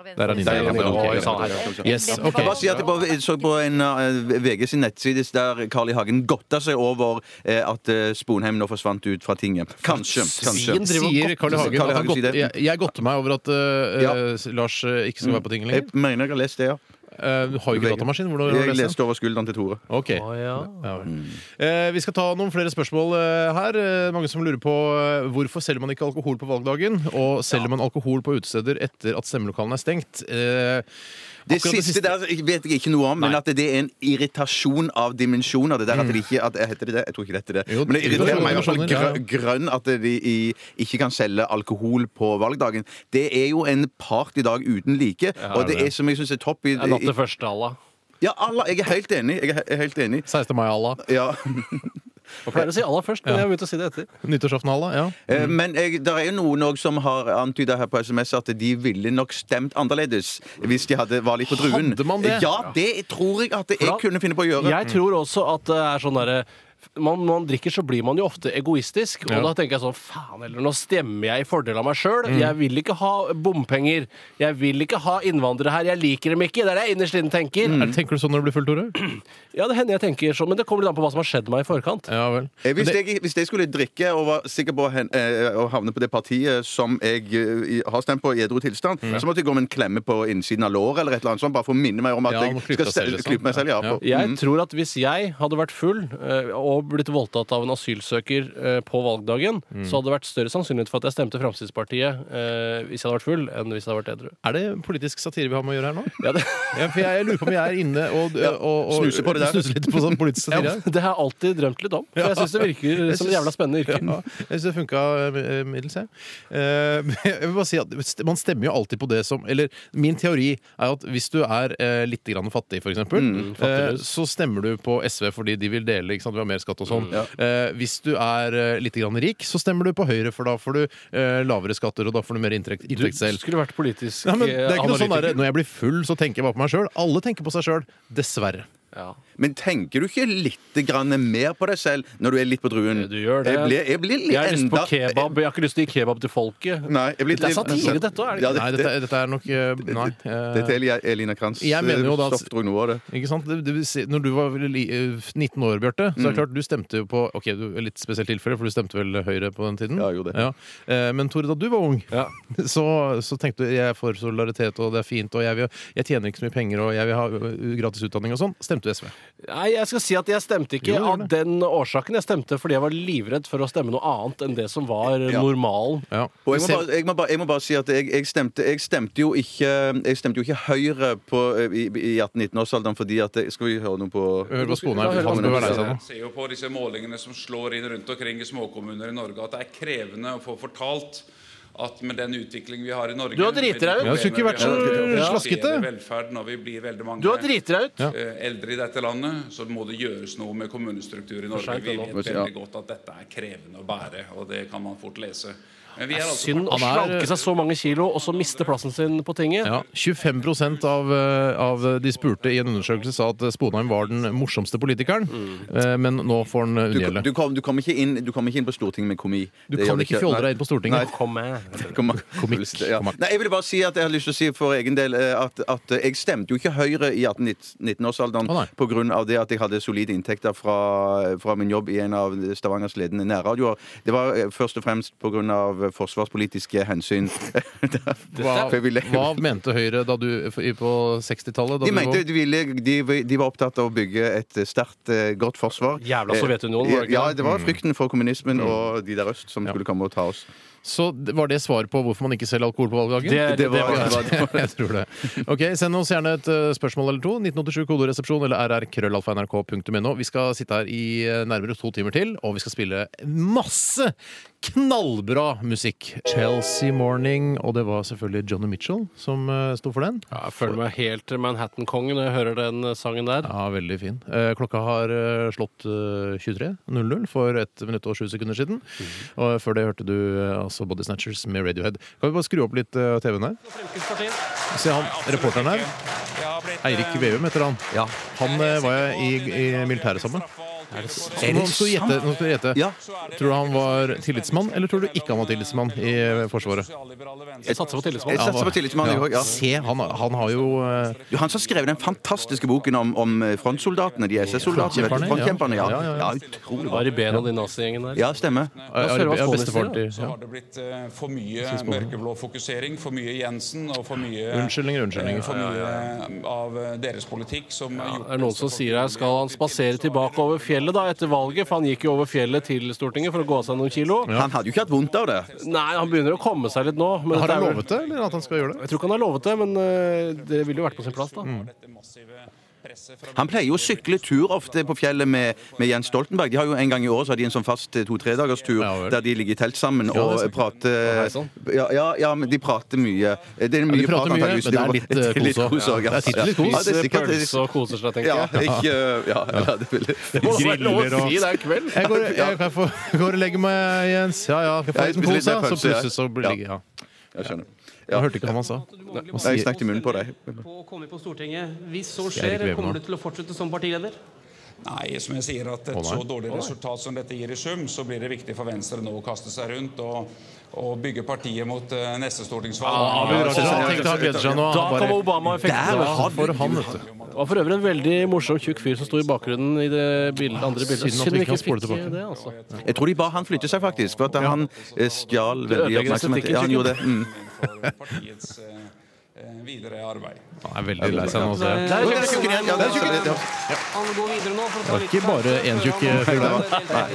S1: Der er han
S3: Der er han
S1: inne.
S3: inne.
S1: Ok,
S3: Oi, sånn
S1: greit. Yes,
S3: Jeg
S1: ok.
S3: vil bare si at jeg bare så på en eh, VG sin nettside der Carl I. Hagen godta seg over eh, at eh, Sponheim nå forsvant ut fra tinget. Kanskje. kanskje.
S1: Svin sier Carl I. Hagen.
S3: Carl
S1: At han godt,
S3: sier det.
S1: jeg, jeg godter meg over at eh,
S3: Ja.
S1: eh, Lars eh, ikke skal være på tinget
S3: Jeg
S1: lenger.
S3: mener jeg har lest det, ja.
S1: Eh, Du har jo ikke datamaskin. Hvordan har
S3: Jeg
S1: du lest det?
S3: leste over skulderen til Tore.
S1: Ok. Ja, vel. Eh, vi skal ta noen flere spørsmål eh, her. Eh, mange som lurer på eh, hvorfor selger man ikke alkohol på valgdagen? Og selger man alkohol på utesteder etter at stemmelokalene er stengt? Eh,
S3: Det
S1: akkurat
S3: siste, der vet jeg ikke noe om, men
S1: Nei.
S3: at det er en irritasjon av dimensjoner. Det der at de ikke at, eh, Heter det det? Jeg tror ikke det heter det.
S1: Jo,
S3: men det irriterer
S1: irritasjon,
S3: meg i hvert fall
S1: irritasjoner,
S3: grø- grønn at de i, ikke kan selge alkohol på valgdagen. Det er jo en partydag uten like, og det
S1: det.
S3: er som jeg syns er topp i,
S2: Det er Natt
S3: i
S2: til første, Allah.
S3: Ja, Allah, jeg er helt enig. Jeg er he- helt enig.
S1: 16. mai Allah.
S3: Ja.
S2: Jeg pleier å si Allah først, men jeg har begynt å si det etter.
S1: Nyttårsaften Allah, ja.
S3: Eh, Men jeg, det er jo noen også som har antyda her på SMS at de ville nok stemt annerledes hvis de hadde var litt på druen.
S1: Hadde man det?
S3: Ja, det tror jeg at
S2: For
S3: jeg
S2: da-
S3: kunne finne på å gjøre.
S2: Jeg tror også at det er sånn derre man, man drikker, så blir man jo ofte egoistisk.
S1: Ja.
S2: Og da tenker jeg sånn Faen heller, nå stemmer jeg i fordel av meg sjøl. Jeg vil ikke ha bompenger. Jeg vil ikke ha innvandrere her. Jeg liker dem ikke. Det er det jeg innerst inne tenker.
S1: Er- Tenker du sånn når du blir full, Tore?
S2: Ja, det hender jeg tenker sånn, men det kommer litt an på hva som har skjedd meg i forkant.
S1: Ja vel.
S3: Eh, Hvis,
S1: Men det-
S3: jeg, hvis jeg skulle drikke og var sikker på å, hen, eh, å havne på det partiet som jeg eh, i- har stemt på i edru tilstand,
S1: Mm.
S3: så måtte jeg gå med en klemme på innsiden av låret eller et eller annet sånt, bare for å minne meg om at
S1: Ja,
S3: jeg
S1: må klype
S3: skal
S1: deg selv,
S3: selv-
S1: liksom.
S3: klype meg selv. Ja,
S1: Ja.
S3: på-
S2: Jeg
S3: Mm.
S2: tror at hvis jeg hadde vært full eh, og blitt voldtatt av en asylsøker eh, på valgdagen,
S1: Mhm.
S2: så hadde det vært større sannsynlighet for at jeg stemte Fremskrittspartiet eh, hvis jeg hadde vært full, enn hvis jeg hadde vært edru.
S1: Er det politisk satire vi har med å gjøre her nå?
S2: Ja, det,
S1: Ja, for jeg, jeg lurer på om jeg er inne og, og, og
S3: snuser på det der.
S1: snuser litt på sånn politisk
S2: ja,
S1: satire.
S2: det har jeg alltid drømt litt om, for jeg syns det virker
S1: Jeg
S2: som
S1: synes-
S2: et jævla spennende yrke.
S1: Ja, jeg syns det funka eh, middels, jeg. Eh, men Jeg vil bare si at st- man stemmer jo alltid på det som Eller min teori er at hvis du er eh, litt grann fattig, f.eks., eh, så stemmer du på SV fordi de vil dele, ikke sant, vi har mer skatt og sånn. Eh, hvis du er eh, litt grann rik, så stemmer du på Høyre, for da får du eh, lavere skatter, og da får du mer inntekt,
S2: Du
S1: inntekt selv.
S2: skulle vært politisk eh,
S1: Nei, men det er ikke noe sånn
S2: analytiker.
S1: der, Når jeg blir full, så tenker jeg bare på meg sjøl. Alle tenker på seg sjøl. Dessverre.
S2: Ja.
S3: Men tenker du ikke litt grann mer på deg selv når du er litt på druen?
S2: Du gjør det.
S3: Jeg blir, jeg blir litt
S2: Jeg har lyst på
S3: enda- Eh,
S2: kebab, jeg har ikke lyst til å gi kebab til folket.
S3: Nei, jeg blir
S2: det er
S3: litt-
S2: satire, dette òg, er det
S3: Ja,
S2: ikke?
S3: det-
S1: Nei, dette, dette er nok eh, Nei. eh,
S3: Dette er Eli- Elina Kranz. eh,
S1: Jeg mener jo da at-
S3: Stoff dro noe av det.
S1: Ikke sant? Det, det, vil si- når du var vel li- eh, 19 år, Bjarte, så
S3: Mm.
S1: er det klart du stemte jo på Ok, du er litt spesielt tilfelle, for du stemte vel Høyre på den tiden?
S3: Ja, jeg gjorde det.
S1: Ja. Eh, Men Tore, da du var ung,
S2: Ja.
S1: så, så tenkte du jeg er for solidaritet, og det er fint, og jeg, vil, jeg tjener ikke så mye penger, og jeg vil ha eh, gratis utdanning og sånn. Stemte du SV?
S2: Nei, jeg skal si at jeg stemte ikke
S1: Jo, gjør
S2: av den årsaken. Jeg stemte fordi jeg var livredd for å stemme noe annet enn det som var
S3: Ja.
S2: normalen.
S1: Ja.
S3: Og jeg må, bare, jeg, må bare, jeg må bare si at jeg, jeg, stemte, jeg stemte jo ikke Jeg stemte jo ikke Høyre på, eh, i, i 18-19-årsalderen fordi at jeg- Skal vi høre noe på
S1: Hør på Sponheim.
S2: Ja, hør på
S1: Han bør være lei seg nå.
S12: ser jo på disse målingene som slår inn rundt omkring i småkommuner i Norge, at det er krevende å få fortalt at med den utviklingen vi har i Norge
S2: Du har driti deg ut.
S1: Ja, det skulle ikke vært så slaskete.
S12: Velferd når vi blir veldig mange
S2: Du har driti deg ut!
S1: Ja.
S12: eh, eldre i dette landet, så må det gjøres noe med kommunestruktur i Norge.
S2: sent,
S12: Vi
S2: det
S12: vet
S2: nå.
S12: veldig godt at dette er krevende å bære, og det kan man fort lese. Men vi er altså
S2: Synd å
S1: Han er-
S2: slanke seg så mange kilo og så miste plassen sin på tinget.
S1: Ja, 25 av, eh, av de spurte i en undersøkelse sa at Sponheim var den morsomste politikeren, eh, men nå får han
S3: Mm. Du,
S1: unngjelde.
S3: du, kom, du, kommer ikke inn, du kommer ikke inn på Stortinget med komi.
S1: Du
S3: Det gjør
S1: kan ikke fjolle deg inn på Stortinget.
S2: Kom med.
S3: Nei. Kom,
S1: Komikk.
S3: Ja.
S1: Komikk.
S3: Nei, jeg ville bare si at jeg har lyst til å si for egen del eh, at, at jeg stemte jo ikke Høyre i 18-19-årsalderen
S1: Å, nei.
S3: på grunn av det at jeg hadde solide inntekter fra, fra min jobb i en av Stavangers ledende nærradioer. Det var eh, først og fremst på grunn av forsvarspolitiske hensyn.
S1: Hva,
S3: For jeg ville-
S1: hva mente Høyre da du, i- på 60-tallet? da
S3: De
S1: du
S3: mente
S1: var-
S3: de, ville, de, de var opptatt av å bygge et sterkt, eh, godt forsvar. Eh,
S2: Jævla Sovjetunionen, var det ikke
S3: Ja,
S2: det? Mm.
S3: det var frykten for kommunismen og de der øst som skulle komme og ta oss.
S1: Så det- var det svar på hvorfor man ikke selger alkohol på valgdagen?
S2: Det-
S3: Det var,
S2: var-
S3: det var, det var.
S1: jeg tror det. Ok, Send oss gjerne et eh, spørsmål eller to. 1987 kodoresepsjon eller rrkrøllalfa.nrk.no. Vi skal sitte her i eh, nærmere to timer til, og vi skal spille masse knallbra musikk. Chelsea Morning, og det var selvfølgelig Johnny Mitchell som eh, sto for den.
S2: Jeg føler meg helt Manhattan-kongen når jeg hører den eh, sangen der.
S1: Ja, veldig fin. Eh, Klokka har eh, slått eh, 23.00 for ett minutt og sju sekunder siden. Og før det hørte du eh, altså Body Snatchers med Radiohead. Kan vi bare skru opp litt eh, TV-en her? Se han, reporteren her. Eirik Veum heter han. Han eh, var jeg i, i militæret sammen. Er det,
S3: Er det
S1: nå skal du gjette. Nå skal du gjette.
S3: Ja.
S1: Tror du han var tillitsmann, eller tror du ikke han var tillitsmann i eh, Forsvaret?
S2: Jeg satser på tillitsmann.
S3: Jeg satser på tillitsmann, jeg også, ja.
S1: Se, han, han har jo eh,
S3: Jo, Han som skrev den fantastiske boken om, om eh, frontsoldatene, de SS-soldatene. vet du,
S1: Frontkjemperne,
S3: Frontkjemperne, ja.
S1: ja. Ja, ja, ja.
S3: Ja, utrolig
S2: Var i
S3: bra.
S2: bena di nazigjengen der.
S3: Ja, stemmer.
S1: Ja, ja, ja, bestefar til-
S12: Så har det blitt eh, for mye
S1: Siste ordet.
S12: mørkeblå fokusering, for mye Jensen og for mye
S1: Unnskyldninger, unnskyldninger.
S12: eh, For
S1: Ja,
S12: mye
S1: ja,
S12: eh, av eh, deres politikk som har
S2: Det er noen som sier her skal han spasere tilbake over fjellet da etter valget, for han gikk jo over fjellet til Stortinget for å gå av seg noen kilo.
S3: Han hadde jo ikke hatt vondt av det.
S2: Nei, han begynner å komme seg litt nå. men
S1: Har
S2: dette
S1: han
S2: er vel-
S1: lovet det, eller at han skal gjøre det?
S2: Jeg tror ikke han har lovet det, men eh, det ville jo vært på sin plass, da.
S1: Mm.
S3: Han pleier jo å sykle tur ofte på fjellet med, med Jens Stoltenberg. De har jo En gang i året så har de en sånn fast eh, to-tredagers tur der de ligger i telt sammen
S1: Ja,
S3: og
S1: det er sant.
S3: prater ja, ja, ja, men de prater mye. Eh, Det er
S1: Ja,
S3: mye
S1: de prater
S3: prat,
S1: mye,
S3: antageligvis.
S1: men det er litt, eh,
S3: Det er litt
S1: kos
S3: kos
S1: også.
S3: også,
S1: Ja, det er
S3: ja.
S1: sikkert litt kos.
S3: Ja, det er sikkert-
S2: Pølse og koser seg, tenker
S3: Ja,
S2: jeg.
S3: ikke, ja, ja, det vil Det
S2: må være lov å si det er kveld.
S1: Jeg går, jeg kan få, går og legger meg, Jens. Ja, ja. Skal få
S3: Ja, jeg
S1: en
S3: spiser litt
S1: pose, så
S3: mer pølse, jeg.
S1: plutselig så blir det ja.
S3: Jeg skjønner.
S1: Jeg hørte ikke hva han sa. Hva
S3: Jeg
S1: sier-
S3: snakket i munnen på deg.
S13: på å komme på Stortinget. Hvis så
S1: Det er
S13: skjer,
S1: ikke
S13: kommer du
S1: levende.
S13: til å fortsette som partileder?
S12: Nei, som jeg sier at et
S1: Å, nei.
S12: så dårlig resultat som dette gir i sum, så blir det viktig for Venstre nå å kaste seg rundt og, og bygge partiet mot eh, neste stortingsvalg.
S1: Ah, Abid Raja, han tenkte han gledet seg nå.
S2: Da
S1: Han bare-
S2: kom Obama-effekten.
S1: Der var for han, vet du.
S2: Det var for øvrig en veldig morsom, tjukk fyr som sto i bakgrunnen i det bildet, andre bildet.
S1: Synd at vi ikke kan spole tilbake.
S2: det, altså.
S3: Jeg tror de ba han flytte seg, faktisk. For at han eh, stjal
S2: Du
S3: veldig
S2: ødelegger
S3: oppmerksomhet.
S2: estetikken,
S3: Ja, han gjorde det.
S2: Kjetil.
S3: Mm.
S12: For partiets eh, eh, videre arbeid.
S1: Han er veldig lei seg nå. ser jeg.
S3: Der er tjukken igjen, ja, der er tjukken igjen.
S13: Han går videre nå for å
S1: Det var ikke bare én tjukk fyr der.
S3: Nei.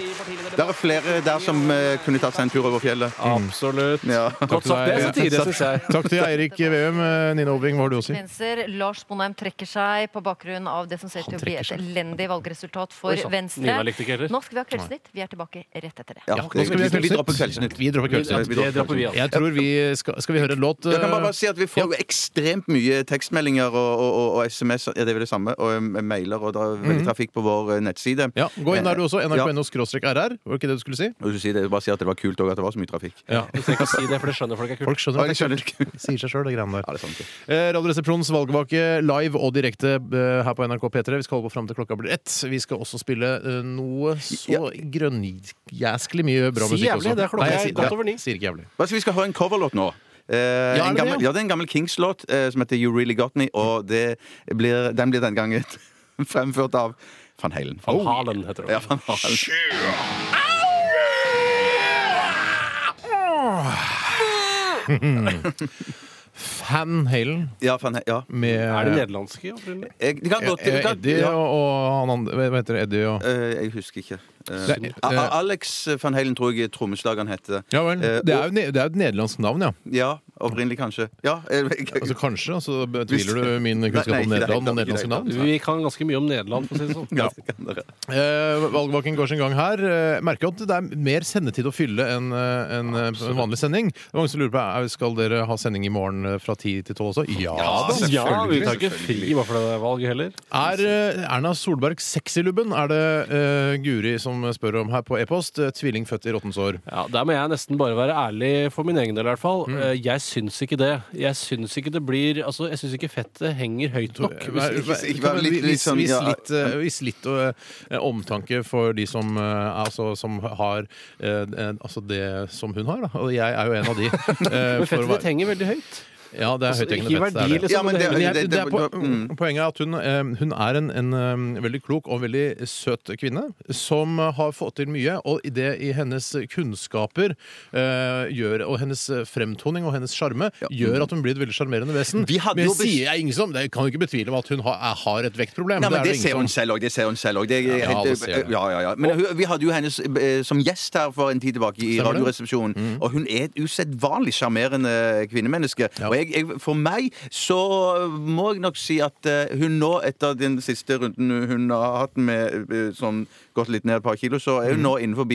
S3: Det er flere der som eh, kunne tatt seg en tur over fjellet. Mm.
S2: Absolutt.
S3: Ja.
S2: Godt sagt. Det er satire, syns jeg.
S1: Takk til Eirik Veum. Eh, Nina Obing, hva har du å si?
S14: Venstre, Lars Bonheim trekker seg på bakgrunn av det som ser til å bli et elendig valgresultat
S2: Oi,
S14: for
S2: sant.
S14: Venstre.
S2: Nina likte ikke heller.
S14: Nå skal vi ha Kveldsnytt. Vi er tilbake rett etter det.
S3: Ja,
S1: Nå skal vi ha
S3: vi dropper
S1: Kveldsnytt.
S3: Kveldsnytt.
S1: Vi dropper Kveldsnytt.
S3: Det dropper vi, altså.
S1: Jeg tror vi skal, skal vi høre en låt? eh,
S3: Jeg kan bare, bare si at Vi får jo ekstremt mye tekstmeldinger og, og, og, og SMS, ja, det er vel det samme, og eh, mailer, og det er veldig
S1: Mhm.
S3: trafikk på vår eh, nettside. Eh,
S1: Ja, Gå inn der du også.
S3: Ja.
S1: NRK.no skråstrek RR. Var det ikke det du skulle si?
S3: Og du sier det, bare si at det var kult også at det var så mye trafikk.
S1: Ja.
S2: Du trenger ikke å si det, for det skjønner folk er
S1: Folk
S2: kult.
S1: skjønner
S3: Ja,
S1: at
S3: de
S1: det er
S3: skjønner
S1: kult. Sier seg sjøl, det greiene der.
S3: Ja, det er sant. det.
S1: Eh, Radioresepsjonens valgvake live og direkte eh, her på NRK P3. Vi skal holde på fram til klokka blir ett. Vi skal også spille eh, noe så grønnjæsklig mye bra
S2: Si
S1: musikk
S2: jævlig,
S1: også.
S2: det er klokka
S1: jeg
S2: er
S1: sier-
S2: godt over ni.
S1: jeg Sier ikke jævlig.
S3: Hva skal vi skal høre en coverlåt nå? Eh,
S1: er
S3: en
S1: det
S3: gammel,
S1: det?
S3: ja, det er en gammel Kings-låt eh, som heter You Really Got Me, og det blir, den blir den gangen fremført av Van Halen.
S2: Van
S1: Oh.
S2: Halen heter det.
S3: Ja, Van Halen.
S1: Fan Halen
S3: Ja, Van Halen ja.
S1: med
S2: Er det nederlandske opprinnelig?
S3: Jeg, det kan godt,
S1: Eh,
S3: det kan,
S1: Eddie
S3: ja.
S1: og, og han andre Hva heter det? Eddie og
S3: Eh, jeg husker ikke. Eh,
S1: Det er-
S3: A- A- Alex Van Halen tror jeg trommeslageren heter.
S1: Ja vel.
S3: Eh,
S1: Det er jo ne- det er jo et nederlandsk navn, ja.
S3: Ja, opprinnelig kanskje. Ja, eh,
S1: Altså Kanskje. altså Betviler du min kunnskap
S3: Nei,
S1: om
S3: nei, ikke det,
S1: Nederland og
S3: ikke det,
S1: nederlandske
S3: ikke
S1: navn?
S3: det.
S2: Vi kan ganske mye om Nederland, for å si det sånn.
S1: Ja.
S3: kan dere.
S1: Eh, valgvaken går sin gang her. Eh, merker jo at det er mer sendetid å fylle enn eh, enn, eh, en vanlig sending. Det er mange som lurer på er, Skal dere ha sending i morgen eh, fra 10 til 12 også. Ja da!
S2: Ja, vi tar ikke fri bare for det valget heller.
S1: Er eh, Erna Solberg sexylubben? Er det eh, Guri som spør om her på e-post. Eh, Tvilling født i råttent sår.
S2: Ja, Der må jeg nesten bare være ærlig for min egen del, i hvert fall. Eh, Jeg syns ikke det. Jeg syns ikke det blir Altså, jeg syns ikke fettet henger høyt nok.
S1: Vær-
S3: Eh, ikke-
S1: vær-
S3: ikke- vær
S1: men
S3: litt-
S1: Vis
S3: litt sånn,
S1: vis
S3: ja.
S1: litt, eh, vis litt eh, omtanke for de som, eh, altså, som har eh, eh, altså det som hun har, da. Og jeg er jo en av de. eh,
S2: Men
S1: for å
S2: fettet
S1: være-
S2: ditt henger veldig høyt.
S1: Ja, det er
S2: Altså,
S1: høythengende
S2: ikke i
S1: fett, det er
S2: verdi,
S1: det.
S2: liksom, Ja, men men det-
S1: men jeg,
S3: det-
S1: det er po
S3: det- mm.
S1: poenget er at hun, eh, hun er en, en eh, veldig klok og veldig søt kvinne som har fått til mye, og i det i hennes kunnskaper eh, gjør, og hennes fremtoning og hennes sjarme gjør at hun blir et veldig sjarmerende vesen.
S3: Vi hadde
S1: Men
S3: jo
S1: jeg
S3: bes-
S1: sier jeg ingen som, det kan jo ikke betvile om at hun har, er- har et vektproblem.
S3: Nei, men
S1: er
S3: det
S1: jo
S3: ser
S1: ingen
S3: hun
S1: som-
S3: selv òg. Det ser hun selv også. Det er
S1: Ja,
S3: helt-
S1: det ser jeg.
S3: ja, ja, ja. Men hun, vi hadde jo henne eh, som gjest her for en tid tilbake
S1: Stemmer
S3: i
S1: det? Mm.
S3: Radioresepsjonen. Og hun er et usedvanlig sjarmerende kvinnemenneske. Og jeg jeg, jeg, for meg så må jeg nok si at eh, hun nå, etter den siste runden hun har hatt med eh, sånn gått litt ned et par kilo, så
S1: Mm.
S3: er hun nå innenfor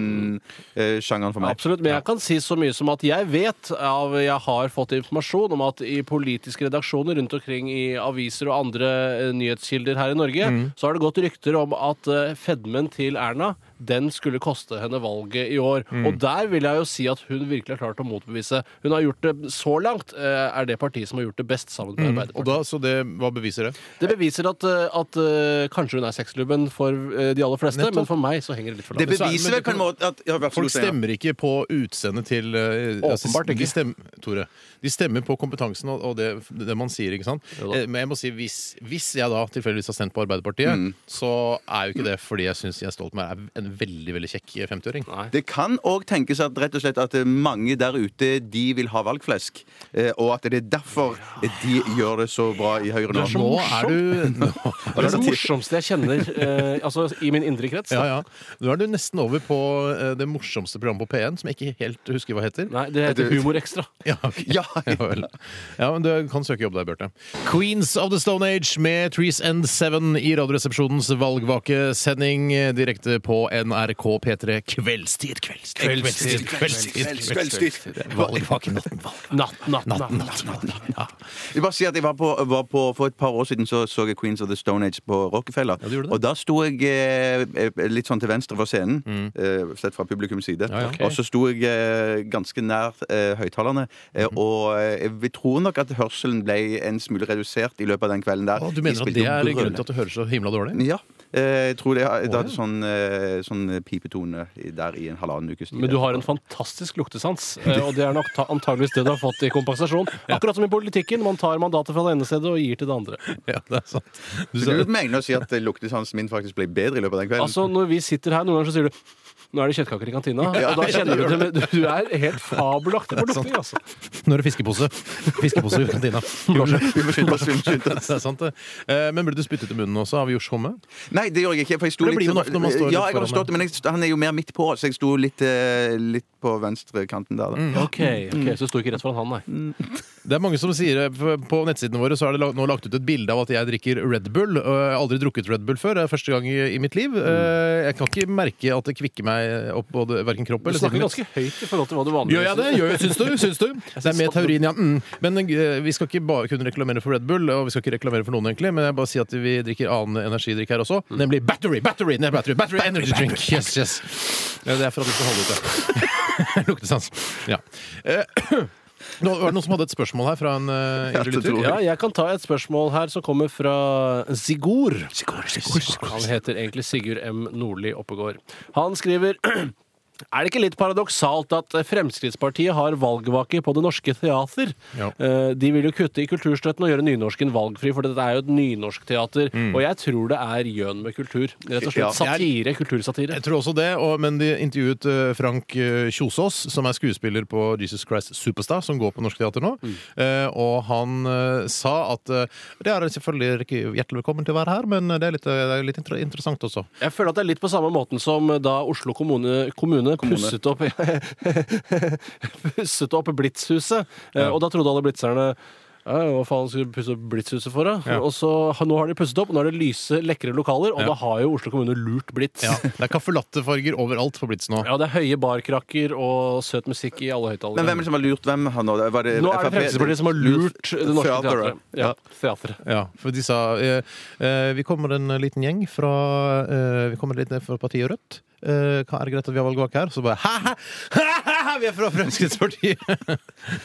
S3: sexylumpen-sjangeren for meg.
S2: Absolutt, men jeg kan si så mye som at jeg vet av Jeg har fått informasjon om at i politiske redaksjoner rundt omkring i aviser og andre eh, nyhetskilder her i Norge,
S1: Mm.
S2: så har det gått rykter om at eh, fedmen til Erna den skulle koste henne valget i år.
S1: Mm.
S2: Og der vil jeg jo si at hun virkelig har klart å motbevise. Hun har gjort det så langt, eh, er det partiet som har gjort det best sammen med
S1: Mm.
S2: Arbeiderpartiet.
S1: Og da, så det, hva beviser det?
S2: Det beviser at, eh, at eh, kanskje hun er sexlubben for eh, de aller fleste,
S1: Nettopp.
S2: men for meg så henger det litt for langt.
S1: Det beviser vel på en
S3: måte at
S1: Folk stemmer ikke på utseendet til eh, altså,
S2: Åpenbart
S1: De
S2: ikke.
S1: stemmer, Tore, de stemmer på kompetansen og, og det, det man sier, ikke sant? Eh, Men jeg må si, hvis, hvis jeg da tilfeldigvis har stemt på Arbeiderpartiet,
S2: Mm.
S1: så er jo ikke det fordi jeg syns Jens Stoltenberg er en veldig veldig kjekk eh, 50-åring.
S3: Det kan òg tenkes at rett og slett at eh, mange der ute de vil ha valgflesk. eh, Og at det er derfor de gjør det så bra i Høyre nå.
S2: Nå er du Det er det morsomste jeg kjenner eh, altså, i min indre krets.
S1: Ja, ja. Nå er du nesten over på eh, det morsomste programmet på P1, som jeg ikke helt husker hva heter.
S2: Nei, det heter Humor Ekstra.
S1: Ja, ok. ja vel. Ja, men du kan søke jobb der, Bjarte. Queens of the Stone Age med Trees and Seven i Radioresepsjonens valgvakesending eh, direkte på NRK P3 Kveldstid. Kveldstid, kveldstid,
S2: Kveldstid,
S1: kveldstid.
S3: kveldstid, kveldstid.
S1: kveldstid. Valgvake natten.
S2: Natt, natt, natt.
S3: Jeg vil bare si at jeg var på, var på, For et par år siden så, så jeg Queens of the Stone Age på Rockefeller. Og da sto jeg eh, litt sånn til venstre for scenen,
S1: Mm.
S3: eh, sett fra publikums side.
S15: Ja, ja. Ok.
S3: Og så sto jeg eh, ganske nær eh, høyttalerne. Eh,
S1: Mhm.
S3: Og eh, vi tror nok at hørselen ble en smule redusert i løpet av den kvelden der.
S1: Å, Du mener at det er grunnen til at du hører så himla dårlig?
S3: Ja. Eh, Jeg tror det, det
S1: ja.
S3: hadde sånn, eh, sånn pipetone i- der i en halvannen ukes tid.
S2: Men du har en fantastisk luktesans, eh, og det er nok ta- antageligvis det du har fått i kompensasjon. Akkurat som i politikken, man tar mandatet fra det ene stedet og gir til det andre.
S1: Ja, det er sant.
S3: Du,
S2: sa-
S3: du mener å si at eh, luktesansen min faktisk ble bedre i løpet av den kvelden?
S2: Altså, når vi sitter her, noen ganger så sier du nå er det kjøttkaker i kantina.
S3: Ja,
S2: og da
S3: ja,
S2: kjenner du
S3: det
S2: det,
S3: gjør
S2: men du er helt fabelaktig på lukting, altså.
S1: Nå er det fiskepose. Fiskepose i kantina.
S3: Vi må skynde oss, vi må skynde
S1: Det er sant, det. Eh, Men ble du spyttet i munnen også av Jors Homme?
S3: Nei, det gjorde jeg ikke. For jeg sto
S1: For det
S3: litt- sånn-
S1: blir jo ofte når man står litt
S3: ja, jeg har
S1: foran
S3: forstått det, men jeg, han er jo mer midt på, så jeg sto litt, eh, litt på venstrekanten der. Da.
S2: Ok, ok, så du sto ikke rett foran han, nei.
S1: Det er mange som sier eh, På nettsidene våre så er det lag- nå lagt ut et bilde av at jeg drikker Red Bull. og Jeg har aldri drukket Red Bull før. Det er første gang i, i mitt liv. Eh, Jeg kan ikke merke at det kvikker meg opp både hverken kropp
S2: Du
S1: eller
S2: snakker
S1: sinnet mitt.
S2: ganske høyt i forhold til hva du vanligvis
S1: Gjør jeg det? Gjør jeg, syns du? Syns du? Det er med taurin, ja. Mm. Men eh, vi skal ikke bare kunne reklamere for Red Bull, og vi skal ikke reklamere for noen, egentlig, men jeg bare sier at vi drikker annen energidrikk her
S2: Mm.
S1: også, nemlig battery! Battery! Nei, battery, battery energy drink! Yes, yes. Ja, Det er for at du skal holde ut, det. Luktesans. Ja. Eh, Nå var det noen som hadde et spørsmål her fra en uh,
S2: Ja, det
S1: lytter.
S2: tror jeg. Ja, jeg kan ta et spørsmål her som kommer fra Sigurd. Han heter egentlig Sigurd M. Nordli Oppegård. Han skriver er det ikke litt paradoksalt at Fremskrittspartiet har valgvake på Det Norske Teater?
S1: Ja.
S2: Eh, De vil jo kutte i kulturstøtten og gjøre nynorsken valgfri, for dette er jo et nynorskteater. Og jeg tror det er gjøn med kultur. Rett og slett satire. Kultursatire.
S1: Jeg tror også det, og, men de intervjuet eh, Frank eh, Kjosås, som er skuespiller på Jesus Christ Superstar, som går på Norsk Teater nå. Eh, og han eh, sa at eh, det er selvfølgelig ikke hjertelig velkommen til å være her, men det er litt, eh, det er litt inter interessant også.
S2: Jeg føler at det er litt på samme måten som da Oslo kommune, kommune, pusset opp Pusset opp Blitzhuset. Eh, Og da trodde alle blitzerne «Ja, hva faen skulle vi pusse opp Blitzhuset for? Da? Og så, ha- Nå har de pusset opp, og nå er det lyse, lekre lokaler, og
S1: Ja.
S2: da har jo Oslo kommune lurt Blitz.
S1: Ja, det er caffè latte-farger overalt på Blitz nå.
S2: Ja, det er høye barkrakker og søt musikk i alle høyttalere.
S3: Men hvem er det som har lurt hvem? her Nå Var det
S2: Nå er det
S3: FrP?
S2: Fremskrittspartiet som har lurt Det Norske
S3: Teateret.
S2: Teatret. Ja, teatret.
S1: Ja, for de sa eh, eh, Vi kommer en liten gjeng fra eh, Vi kommer litt ned fra partiet Rødt. Eh, kan- er det greit at vi har valgvake her? Så bare hæ, hæ, hæ, hæ, vi er fra Fremskrittspartiet!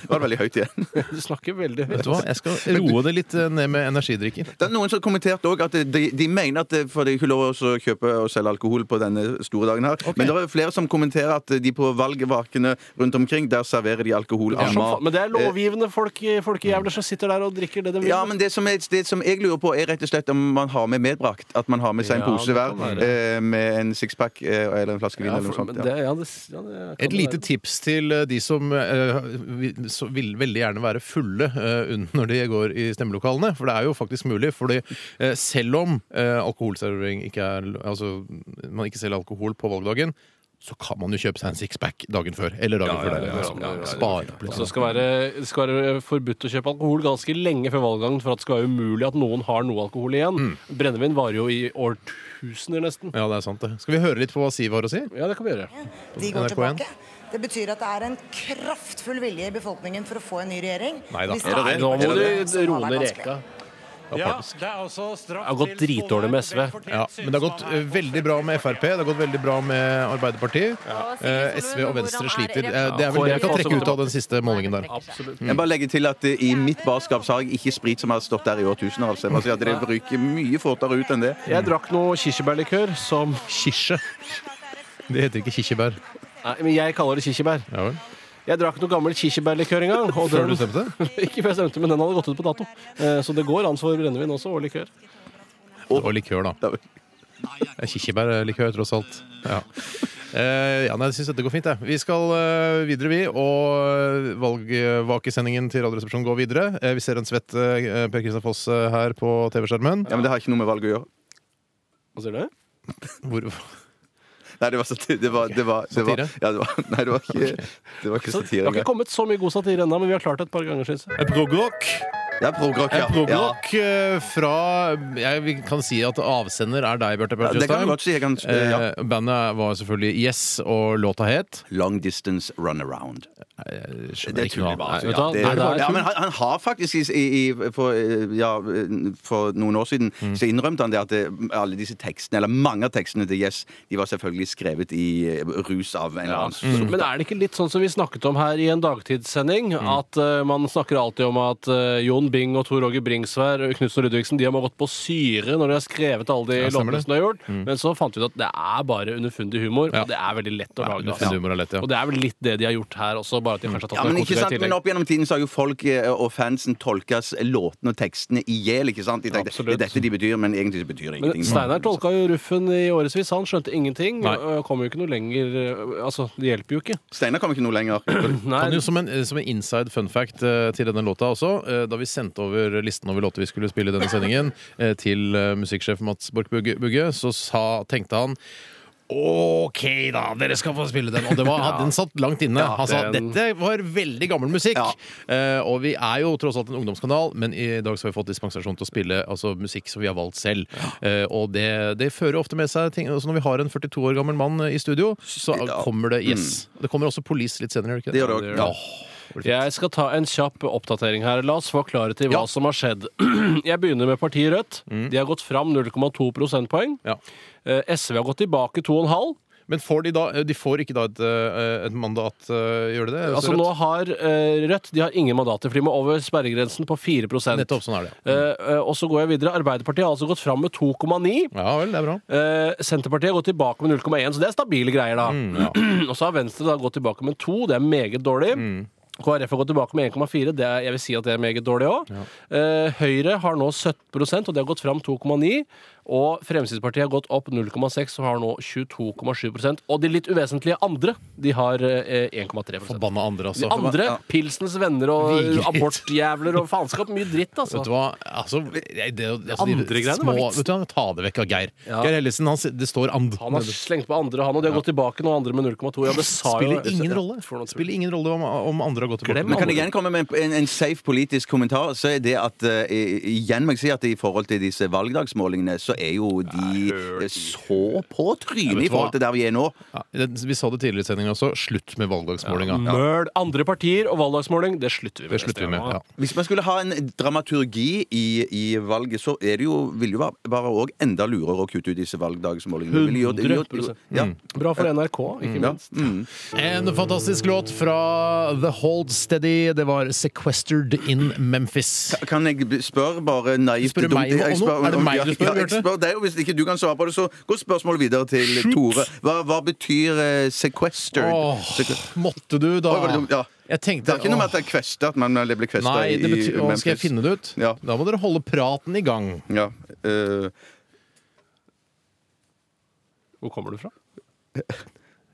S3: Var det veldig høyt igjen?
S2: Du snakker veldig høyt.
S1: Vet du hva, jeg skal roe det litt eh, ned med energidrikken.
S3: Det er noen som kommenterte også at de, de mener at det- for det er ikke lov å kjøpe og selge alkohol på denne store dagen her. Men det er flere som kommenterer at de på valgvakene rundt omkring, der serverer de alkohol.
S2: Det er som
S3: Amma.
S2: fa- Men det er
S3: Eh,
S2: lovgivende folk, folkejævler som sitter der og drikker det de vil.
S3: Ja, men det som, er, det som jeg lurer på, er rett og slett om man har med medbrakt. At man har med seg en
S2: Ja,
S3: pose
S2: det
S3: hver
S2: kan være.
S3: eh, med en sixpack eh, eller en flaske vin
S2: Ja,
S3: eller noe
S2: for- men
S3: sånt. Ja.
S2: det- ja, det- ja, det kan
S1: Et
S2: det
S1: lite
S2: være.
S1: tips til eh, de som eh, vil, så vil veldig gjerne være fulle eh, un- når de går i stemmelokalene. For det er jo faktisk mulig. Fordi eh, selv om eh, alkoholservering ikke er Altså man ikke selger alkohol på valgdagen, så kan man jo kjøpe seg en sixpack dagen før. Eller dagen
S2: Ja,
S1: før
S2: ja,
S1: der.
S2: ja, ja,
S1: liksom.
S2: ja, ja, ja.
S1: Spare opp
S2: Og
S1: litt.
S2: så skal være, det skal være forbudt å kjøpe alkohol ganske lenge før valggangen for at det skal være umulig at noen har noe alkohol igjen. Brennevin varer jo i årtusener nesten.
S1: Ja, det er sant, det. Skal vi høre litt på hva Siv har å si?
S2: Ja, det kan vi gjøre.
S8: De går
S1: NRK1.
S8: tilbake. Det betyr at det er en kraftfull vilje i befolkningen for å få en ny regjering.
S1: Neida.
S8: Hvis
S1: Er det det?
S8: er
S2: Nå
S8: noe
S2: må
S8: som
S2: du
S8: har vært
S2: roe ned
S8: vanskelig.
S2: reka.
S1: Ja,
S7: det er altså straff
S2: Det har gått dritdårlig med SV.
S1: Ja, men det har gått eh, veldig bra med Frp, det har gått veldig bra med Arbeiderpartiet. Eh, SV og Venstre sliter. Eh, det er vel det vi kan trekke ut av den siste målingen der.
S3: Jeg bare legger til at eh, I mitt barskap så har jeg ikke sprit som har stått der i årtusener. Altså. Jeg bare sier at Det ryker mye fortere ut enn det.
S2: Jeg drakk noe kirsebærlikør som
S1: Kirse. Det heter ikke kirsebær.
S2: Nei, men jeg kaller det kirsebær. Jeg drakk noe gammel kirsebærlikør en gang. og
S1: Før
S2: den-
S1: du stemte?
S2: Ikke før jeg stemte, men den hadde gått ut på dato. Eh, Så det går an for brennevin også, og likør.
S1: Det var likør, da. Eh, Kirsebærlikør, tross alt. Ja. Eh, ja, nei, jeg syns dette går fint. Jeg. Vi skal eh, videre, vi. Og eh, valgvakesendingen til Radioresepsjonen går videre. Eh, vi ser en svett eh, Per Kristian Foss eh, her på TV-skjermen.
S3: Ja, Men det har ikke noe med valg å gjøre.
S2: Hva sier du?
S1: Hvor,
S3: Nei, det var satire. Det var, det var, det var, ja, det var, nei, det var ikke, det var ikke
S2: Så det
S3: satire.
S2: har ikke kommet så mye god satire ennå, men vi har klart det et par ganger, syns jeg.
S1: Progrock.
S3: Ja, progrock, ja.
S1: En progrock eh, fra Jeg vi kan si at avsender er deg, Bjarte Perl
S3: Ja, det kan du godt si, jeg kan-
S1: Eh,
S3: ja.
S1: Bandet var selvfølgelig Yes, og låta het
S3: Long Distance Runaround.
S1: Jeg
S3: Det
S1: skjønner
S3: er
S1: ikke
S3: tull,
S1: noe
S3: bare.
S1: annet. Nei, vet du
S3: altså. Ja,
S1: hva?
S3: det-
S1: Nei, det er
S3: ja,
S1: tull.
S3: men han, han har faktisk i, i, i- for, eh, ja, for noen år siden
S1: Mm.
S3: så innrømte han det at det, alle disse tekstene, eller mange av tekstene til Yes, de var selvfølgelig skrevet i eh, rus av en eller annen
S1: Mm.
S3: sort.
S2: Men er det ikke litt sånn som vi snakket om her i en dagtidssending?
S1: Mm.
S2: At eh, man snakker alltid om at eh, Jon Bing og Tor Roger Bringsvær og Knutsen og Ludvigsen de har gått på syre når de har skrevet alle de
S1: Ja, stemmer
S2: låtene
S1: det.
S2: som de har gjort.
S1: Mm.
S2: Men så fant vi ut at det er bare underfundig humor, og det er veldig lett å lage.
S1: underfundig
S2: altså.
S1: humor er lett, ja. Mm.
S2: Og det er vel litt det de har gjort her også, bare at de kanskje har tatt
S3: Ja, men, ikke
S2: narkotika
S3: sant?
S2: i
S3: men
S2: tillegg.
S3: opp gjennom tiden så har jo folk eh, og fansen tolka låtene og tekstene i hjel. ikke sant? De tenkte, det er dette de betyr, men egentlig så betyr det
S2: Men
S3: ingenting.
S2: Steinar tolka jo Ruffen i årevis. Han skjønte ingenting.
S3: Nei.
S2: og Kom jo ikke noe lenger eh, Altså, det hjelper jo ikke.
S3: Steinar kom ikke noe lenger.
S1: Kan jo som en, som en inside fun fact eh, til denne låta også, eh, da vi sendte over listen over låter vi skulle spille i denne sendingen eh, til eh, musikksjef Mats Borch Bugge, Bugge, så sa, tenkte han OK, da! Dere skal få spille den. Og det var,
S2: Ja.
S1: den satt langt inne.
S2: Ja,
S1: Han sa at
S2: den-
S1: dette var veldig gammel musikk. Eh, og vi er jo tross alt en ungdomskanal, men i dag så har vi fått dispensasjon til å spille altså, musikk som vi har valgt selv. Eh, og det, det fører ofte med seg ting altså, Når vi har en 42 år gammel mann eh, i studio, så kommer det
S2: Mm.
S1: Yes. Det kommer også Police litt senere. gjør ikke
S3: Det gjør det også, ja.
S1: Åh.
S2: Jeg skal ta en kjapp oppdatering her. La oss få klarhet i hva som har skjedd. Jeg begynner med partiet Rødt.
S1: Mm.
S2: De har gått fram 0,2 prosentpoeng. Eh, SV har gått tilbake 2,5.
S1: Men får de da De får ikke da et, eh, et mandat, eh, gjør de det?
S2: Altså
S1: Rødt?
S2: Nå har eh, Rødt de har ingen mandater, for de må over sperregrensen på 4
S1: Nettopp, sånn er det.
S2: Eh, eh, og så går jeg videre. Arbeiderpartiet har altså gått fram med 2,9.
S1: Ja vel, det er bra.
S2: Eh, Senterpartiet har gått tilbake med 0,1, så det er stabile greier, da.
S1: Mm,
S2: og så har Venstre da gått tilbake med 2, det er meget dårlig.
S1: Mm.
S2: KrF har gått tilbake med 1,4. Det er, jeg vil si at det er meget dårlig òg. Høyre har nå 17 og det har gått fram 2,9. Og Fremskrittspartiet har gått opp 0,6 og har nå 22,7 Og de litt uvesentlige andre, de har eh, 1,3
S1: Forbanna andre, altså.
S2: De andre,
S1: Ja.
S2: Pilsens venner og
S1: Vigrid.
S2: abortjævler og faenskap. Mye dritt, altså.
S1: Vet du hva? Altså, jeg- det, altså de
S2: Andre greiene
S1: små,
S2: var vitsen.
S1: Vet du, hva? Ta det vekk av Geir. Geir Hellesen, han, s- det står and.
S2: Han har slengt på andre, han, og de har gått tilbake nå, andre med 0,2. Ja, det sa jo
S1: Spiller ingen rolle. Spiller ingen rolle om, om andre har gått tilbake.
S3: Men kan jeg igjen komme med en, en, en safe politisk kommentar? Så er det at eh, igjen må jeg si at i forhold til disse valgdagsmålingene, så er jo de så på
S1: Ja,
S3: trynet
S1: vet
S3: i
S1: du hva?
S3: forhold til der vi er nå.
S1: Ja, det- vi sa det tidligere i sendingen også. Slutt med valgdagsmålinga.
S2: Møl andre partier og valgdagsmåling, det slutter vi med.
S1: Det slutter vi med, ja.
S3: Hvis man skulle ha en dramaturgi i, i valget, så er det jo, vil det jo være- være òg enda lurere å kutte ut disse valgdagsmålingene. Det ville gjort- det ville
S2: 100%.
S3: gjort- Ja.
S2: Bra for NRK, ikke
S3: Mm. Ja.
S2: minst.
S1: En fantastisk låt fra The Hold Steady. Det var 'Sequestered in Memphis'.
S3: Kan jeg b- spørre bare naivt
S1: Spør du
S3: dumt?
S1: meg om
S3: Jeg
S1: noe? Er det meg
S3: ja,
S1: du spør,
S3: ja, jeg
S1: Bjarte?
S3: spør deg, og Hvis ikke du kan svare på det, så går spørsmålet videre til Tore. Hva, hva betyr eh, sequestered?
S1: Åh, måtte du da
S3: Oi, var det dumt? Ja.
S1: Jeg tenkte
S3: Det er ikke noe med at det er kvesta, at man blir kvesta
S1: Nei, det betyr,
S3: i
S1: å, skal jeg finne det ut?
S3: Ja.
S1: Da må dere holde praten i gang.
S3: Ja. eh,
S2: Hvor kommer du fra?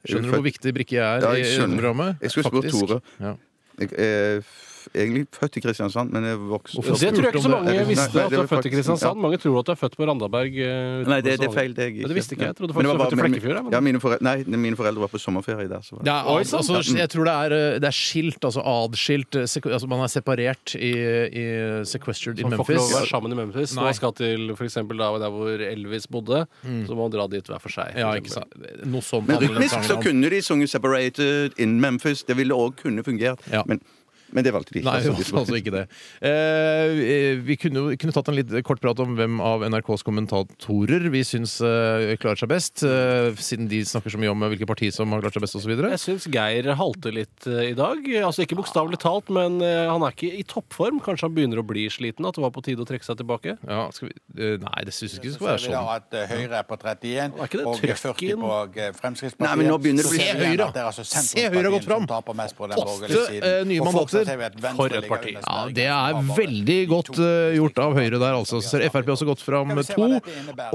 S1: Skjønner du hvor viktig brikke jeg er
S3: Ja,
S1: i
S3: jeg
S1: dette
S3: skjønner.
S1: programmet?
S3: Jeg skulle spørre
S1: Faktisk.
S3: Tore.
S1: Ja.
S3: Jeg, eh, f- f- egentlig født i Kristiansand, men jeg vokste
S2: Det tror jeg ikke så mange visste,
S3: Nei,
S2: at
S3: det
S2: du
S3: var
S2: er født i
S3: faktisk-
S2: Kristiansand.
S3: ja.
S2: Mange tror at du er født på Randaberg. eh,
S3: Nei, det, det er
S2: utenfor
S3: feil.
S2: Svalbard. Ja,
S3: Det er jeg ikke.
S2: det visste ikke jeg. Jeg trodde
S3: Men det
S2: faktisk du var født i
S3: var- men-
S2: Flekkefjord. jeg, men-
S3: Ja, mine foreldre, nei, mine foreldre var på sommerferie der. Så var
S1: Det er, altså,
S3: mm.
S1: jeg tror det er, eh, det er skilt, altså adskilt eh, seku- altså, Man er separert i, i sequestered
S2: Man
S1: i
S2: får ikke lov
S1: Memphis.
S2: å være sammen i Memphis. Når
S1: Nei.
S2: man skal til for eksempel, da, der hvor Elvis bodde, så må man dra dit hver for seg.
S1: Ja, ikke sant. Noe sånt.
S3: Men rytmisk så kunne de sunget 'Separated in Memphis'. Det ville òg kunne fungert. Men, men det valgte de ikke.
S1: Nei,
S3: altså.
S1: altså ikke det. Eh, vi kunne, jo- kunne tatt en litt kort prat om hvem av NRKs kommentatorer vi syns eh, klarer seg best, eh, siden de snakker så mye om eh, hvilke partier som har klart seg best osv.
S2: Jeg syns Geir halter litt eh, i dag. Altså Ikke bokstavelig talt, men eh, han er ikke i toppform. Kanskje han begynner å bli sliten? At det var på tide å trekke seg tilbake?
S1: Ja, skal vi, eh, nei, det syns jeg ikke sånn.
S4: Så ser vi da at eh, Høyre er på 31
S2: det
S4: og
S2: trøkk
S4: 40 på eh, Fremskrittspartiet.
S1: Nei, men nå begynner det å bli-
S4: Så ser vi
S1: Se Høyre,
S4: igjen
S1: da.
S4: at det er altså
S1: Se
S4: sentrumspartiene
S1: Høyre har gått
S4: som taper mest på den borgerlige
S1: Åtte eh,
S4: siden.
S1: nye
S4: Og fortsatt ser vi
S1: mandater.
S4: at Venstre
S1: For et
S4: ligger
S1: parti.
S4: under
S1: Ja, det er veldig godt eh, gjort av Høyre der, altså. Så Ser Frp også gått fram to,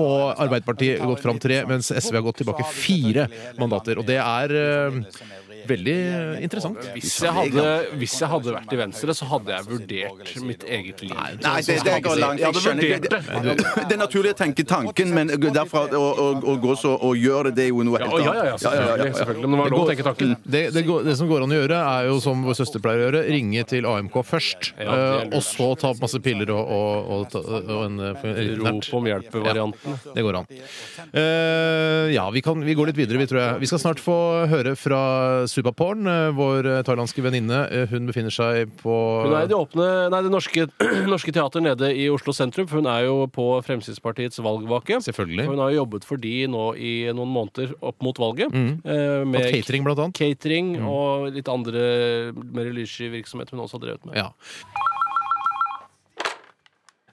S1: og Arbeiderpartiet gått fram tre, mens
S4: sånn
S1: SV har gått tilbake fire mandater. Og det er eh, veldig eh, interessant.
S2: Hvis jeg, hadde, hvis jeg hadde vært i Venstre, så hadde jeg vurdert mitt eget liv.
S3: Nei, det, det går langt. Jeg skjønner ikke. Det, det er naturlig å tenke tanken, men derfra å, å, å gå så og gjøre det, det er jo noe helt
S2: Ja, ja, ja, selvfølgelig, selvfølgelig. Men det var lov å tenke tanken.
S1: Det, det, går, det som går an å gjøre, er jo som vår søster pleier å gjøre, ringe til AMK først.
S2: Ja, det er
S1: eh,
S2: lurt.
S1: og så ta masse piller og, og, og, ta- og en eh,
S2: Rop om hjelp-varianten.
S1: Ja, det går an. Eh, ja, vi, kan, vi går litt videre, vi, tror jeg. Vi skal snart få høre fra Subaporn, eh, vår eh, thailandske venninne. Eh, Hun befinner seg på
S2: Hun er i det åpne Nei, det norske, norske teater nede i Oslo sentrum, for hun er jo på Fremskrittspartiets valgvake.
S1: Selvfølgelig.
S2: Og hun har jo jobbet for de nå i noen måneder opp mot valget.
S1: Mm.
S2: eh,
S1: Og catering, blant annet.
S2: Catering
S1: Mm.
S2: og litt andre mer lyssky virksomhet hun også har drevet med.
S1: Ja.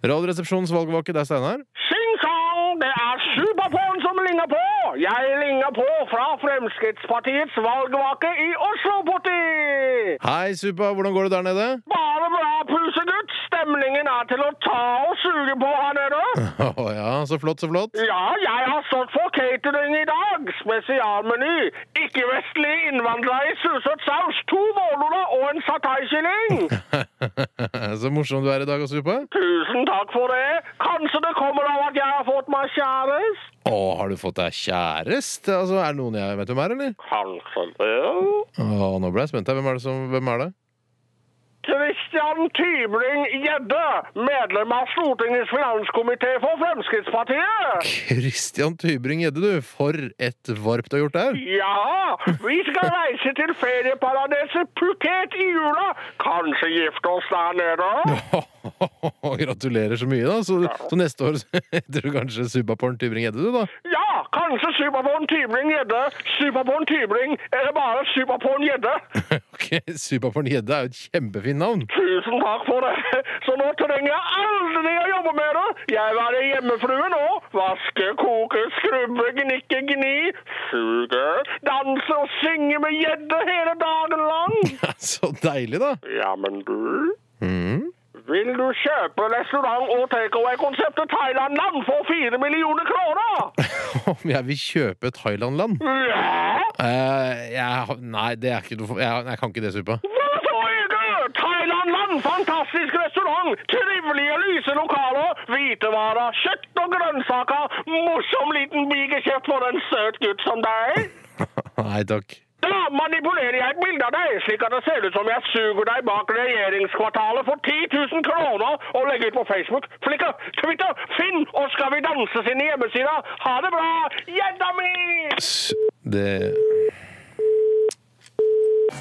S1: Radioresepsjonens valgvake, det er Steinar.
S15: Sing-sang, det er Superporn som ligner på! Jeg ligner på fra Fremskrittspartiets valgvake i Oslo-parti!
S1: Hei, Supa, hvordan går det der nede?
S15: Bare bra, pusegutt! Stemningen er til å ta og suge på her nede.
S1: Å ja, så flott, så flott.
S15: Ja, jeg har stått for catering i dag. Spesialmeny. Ikke-vestlige innvandrere i suset saus, to vårlunder og en sataikylling.
S1: Så morsom du er i dag, Supa.
S15: Tusen takk for det. Kanskje det kommer av at jeg har fått meg kjæreste?
S1: Å, har du fått deg kjæreste? Altså, er det noen jeg vet hvem er, eller?
S15: Kanskje det.
S1: Å, nå ble jeg spent her. Hvem er det som Hvem er det?
S15: Christian Tybring Gjedde, medlem av Stortingets finanskomité for Fremskrittspartiet.
S1: Christian Tybring-Gjedde, du. For et varp du har gjort der.
S15: Ja, vi skal reise til ferieparadiset Phuket i jula. Kanskje gifte oss der nede?
S1: Å, gratulerer så mye, da. Så, så neste år heter du kanskje Subaporn Tybring-Gjedde, du, da.
S15: Ja, kanskje Superporn Tybring Gjedde. Superporn Tybring, eller bare Superporn Gjedde.
S1: Ok, Subaporn Gjedde er jo et kjempefint navn.
S15: Tusen takk for det. Så nå trenger jeg aldri å jobbe med det. Jeg vil være hjemmefrue nå. Vaske, koke, skrubbe, gnikke, gni, suge, danse og synge med gjedde hele dagen lang.
S1: Så deilig, da.
S15: Ja, men du
S1: Mm.
S15: Vil du kjøpe restaurant- og takeaway-konseptet Thailandland for fire millioner kroner?
S1: Om jeg vil kjøpe Thailand-land?
S15: Ja.
S1: Eh, jeg, har- nei, det er ikke noe for jeg, jeg kan ikke det, Supa.
S15: Hvorfor ikke? Thailandland, fantastisk restaurant, trivelige, lyse lokaler, hvitevarer, kjøtt og grønnsaker, morsom liten bigeskjeft for en søt gutt som deg.
S1: Nei takk.
S15: Da manipulerer jeg et bilde av deg, slik at det ser ut som jeg suger deg bak regjeringskvartalet for 10 000 kroner og legger ut på Facebook, Flikker, Twitter, Finn og Skal vi danse sine hjemmesider. Ha det bra, gjedda mi!
S1: Det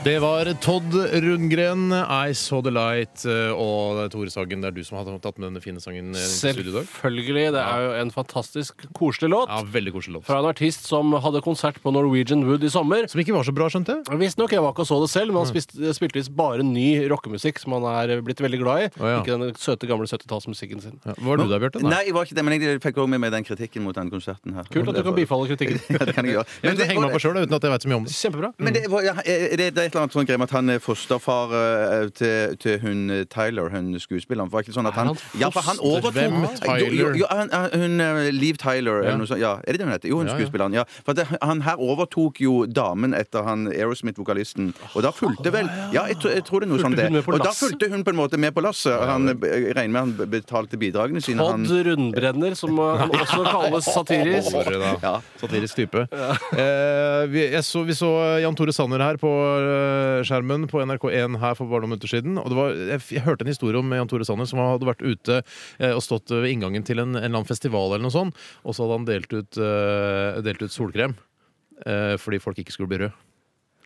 S1: Det var Todd Rundgren, 'I Saw The Light', eh, og Tore Sagen, det er du som har tatt med denne fine sangen eh, til studio i dag?
S2: Selvfølgelig. Det er jo en fantastisk koselig låt.
S1: Ja, veldig koselig låt.
S2: Fra en artist som hadde konsert på Norwegian Wood i sommer.
S1: Som ikke var så bra, skjønte jeg?
S2: Visstnok. Jeg var ikke og så det selv, men han
S1: Mm.
S2: spiste, spilte visst bare ny rockemusikk som han er blitt veldig glad i.
S1: ja.
S2: Ikke den søte, gamle 70-tallsmusikken sin.
S1: var du der, Bjarte?
S3: Nei, jeg var ikke det, men jeg fikk også med meg den kritikken mot den konserten her.
S2: Kult at du kan bifalle kritikken.
S3: Ja, det kan jeg gjøre.
S1: Jeg vil henge meg på sjøl uten at jeg veit så mye om det.
S2: Kjempebra.
S3: Men det, var- ja, er det, det et eller annet sånn greie med at han er fosterfar eh, til, til hun eh, Tyler, hun skuespilleren. For det ikke sånn at han, ja, for han
S16: foster-
S3: overtok
S16: Hvem er
S3: Jo, jo,
S16: Tyler?
S3: jo, han, han- hun, eh, Liv Tyler,
S16: Ja.
S3: eller noe sånt. Ja, er det det hun heter? Jo, hun
S16: Ja, ja.
S3: skuespilleren. Ja. For det, han her overtok jo damen etter han Aerosmith-vokalisten, og da fulgte vel Ja, jeg, tror- jeg tror det er
S2: Fulgte
S3: noe sånt det.
S2: hun med på
S3: Og da
S2: lasset?
S3: fulgte hun på en måte med på lasset. Han eh, regner med han betalte bidragene sine. Han,
S2: Odd Rundbrenner, som han også kalles satirisk.
S1: Sorry, da.
S3: Ja.
S1: Satirisk type. Eh, vi, jeg så, vi så Jan Tore Sanner her på eh, skjermen på NRK1 her for bare noen minutter siden. Og det var, jeg, f- jeg hørte en historie om Jan Tore Sanner som hadde vært ute eh, og stått ved inngangen til en, en eller annen festival, eller noe sånt, og så hadde han delt ut, eh, delt ut solkrem eh, fordi folk ikke skulle bli røde.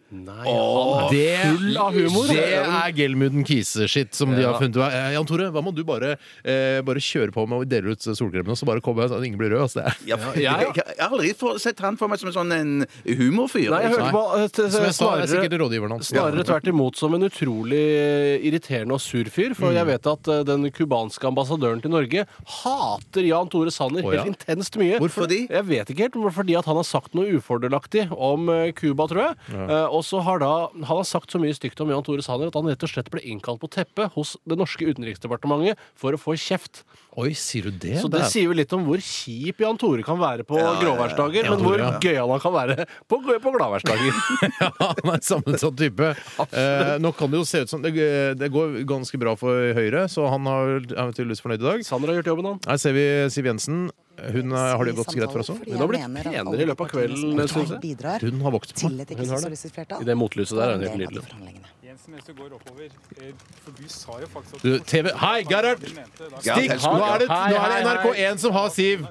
S2: Nei, altså. han er full av humor.
S1: Det er Gelmuden Kise-shit som de
S2: Ja.
S1: har funnet ut. Eh, Jan Tore, hva må du bare, eh, bare kjøre på med å dele ut solkremen, og så bare komme her så ingen blir rød? Altså, det er.
S3: ja, for- jeg, jeg har aldri for, sett han for meg som en sånn en humorfyr. liksom.
S2: Nei, jeg hørte på at,
S3: Som jeg sa,
S1: det er sikkert rådgiveren hans.
S2: Snarere
S1: Ja.
S2: tvert imot som en utrolig eh, irriterende og sur fyr.
S1: Mm.
S2: For jeg vet at eh, den cubanske ambassadøren til Norge hater Jan Tore Sanner
S1: Å, ja.
S2: helt intenst mye.
S1: Hvorfor
S2: de? Jeg vet ikke helt, men fordi at han har sagt noe ufordelaktig om eh, Cuba, tror jeg.
S1: Ja.
S2: Eh, Og så har da han har sagt så mye stygt om Jan Tore Sanner at han rett og slett ble innkalt på teppet hos det norske utenriksdepartementet for å få kjeft.
S1: Oi, sier du det?
S2: Så det
S1: Der.
S2: sier jo litt om hvor kjip Jan Tore kan være på
S1: Ja, ja, ja.
S2: gråværsdager,
S1: Jan
S2: men
S1: Tore,
S2: hvor
S1: ja.
S2: gøyal han kan være på, på gladværsdager.
S1: ja, han er en sammensatt type. Eh, nå kan det jo se ut som det, eh, det går ganske bra for Høyre, så han har, er tydeligvis fornøyd i dag.
S2: Sander har gjort jobben, han.
S1: Her ser vi Siv Jensen. Hun er, har det jo gått greit for også.
S8: Hun har blitt mener at penere alle i løpet av partiene som kvelden, ikke synes jeg. bidrar
S1: Hun har vokst på.
S8: til et
S1: Hun har det.
S8: ikke-sosialistisk flertall.
S2: I det motlyset der er hun helt
S8: Det er
S2: nydelig.
S17: Jensen, mens du går oppover, eh, for du sa jo faktisk at
S1: Du, TV Hei, Gerhard! Stikk! Nå er det, nå er det NRK1 som har Siv.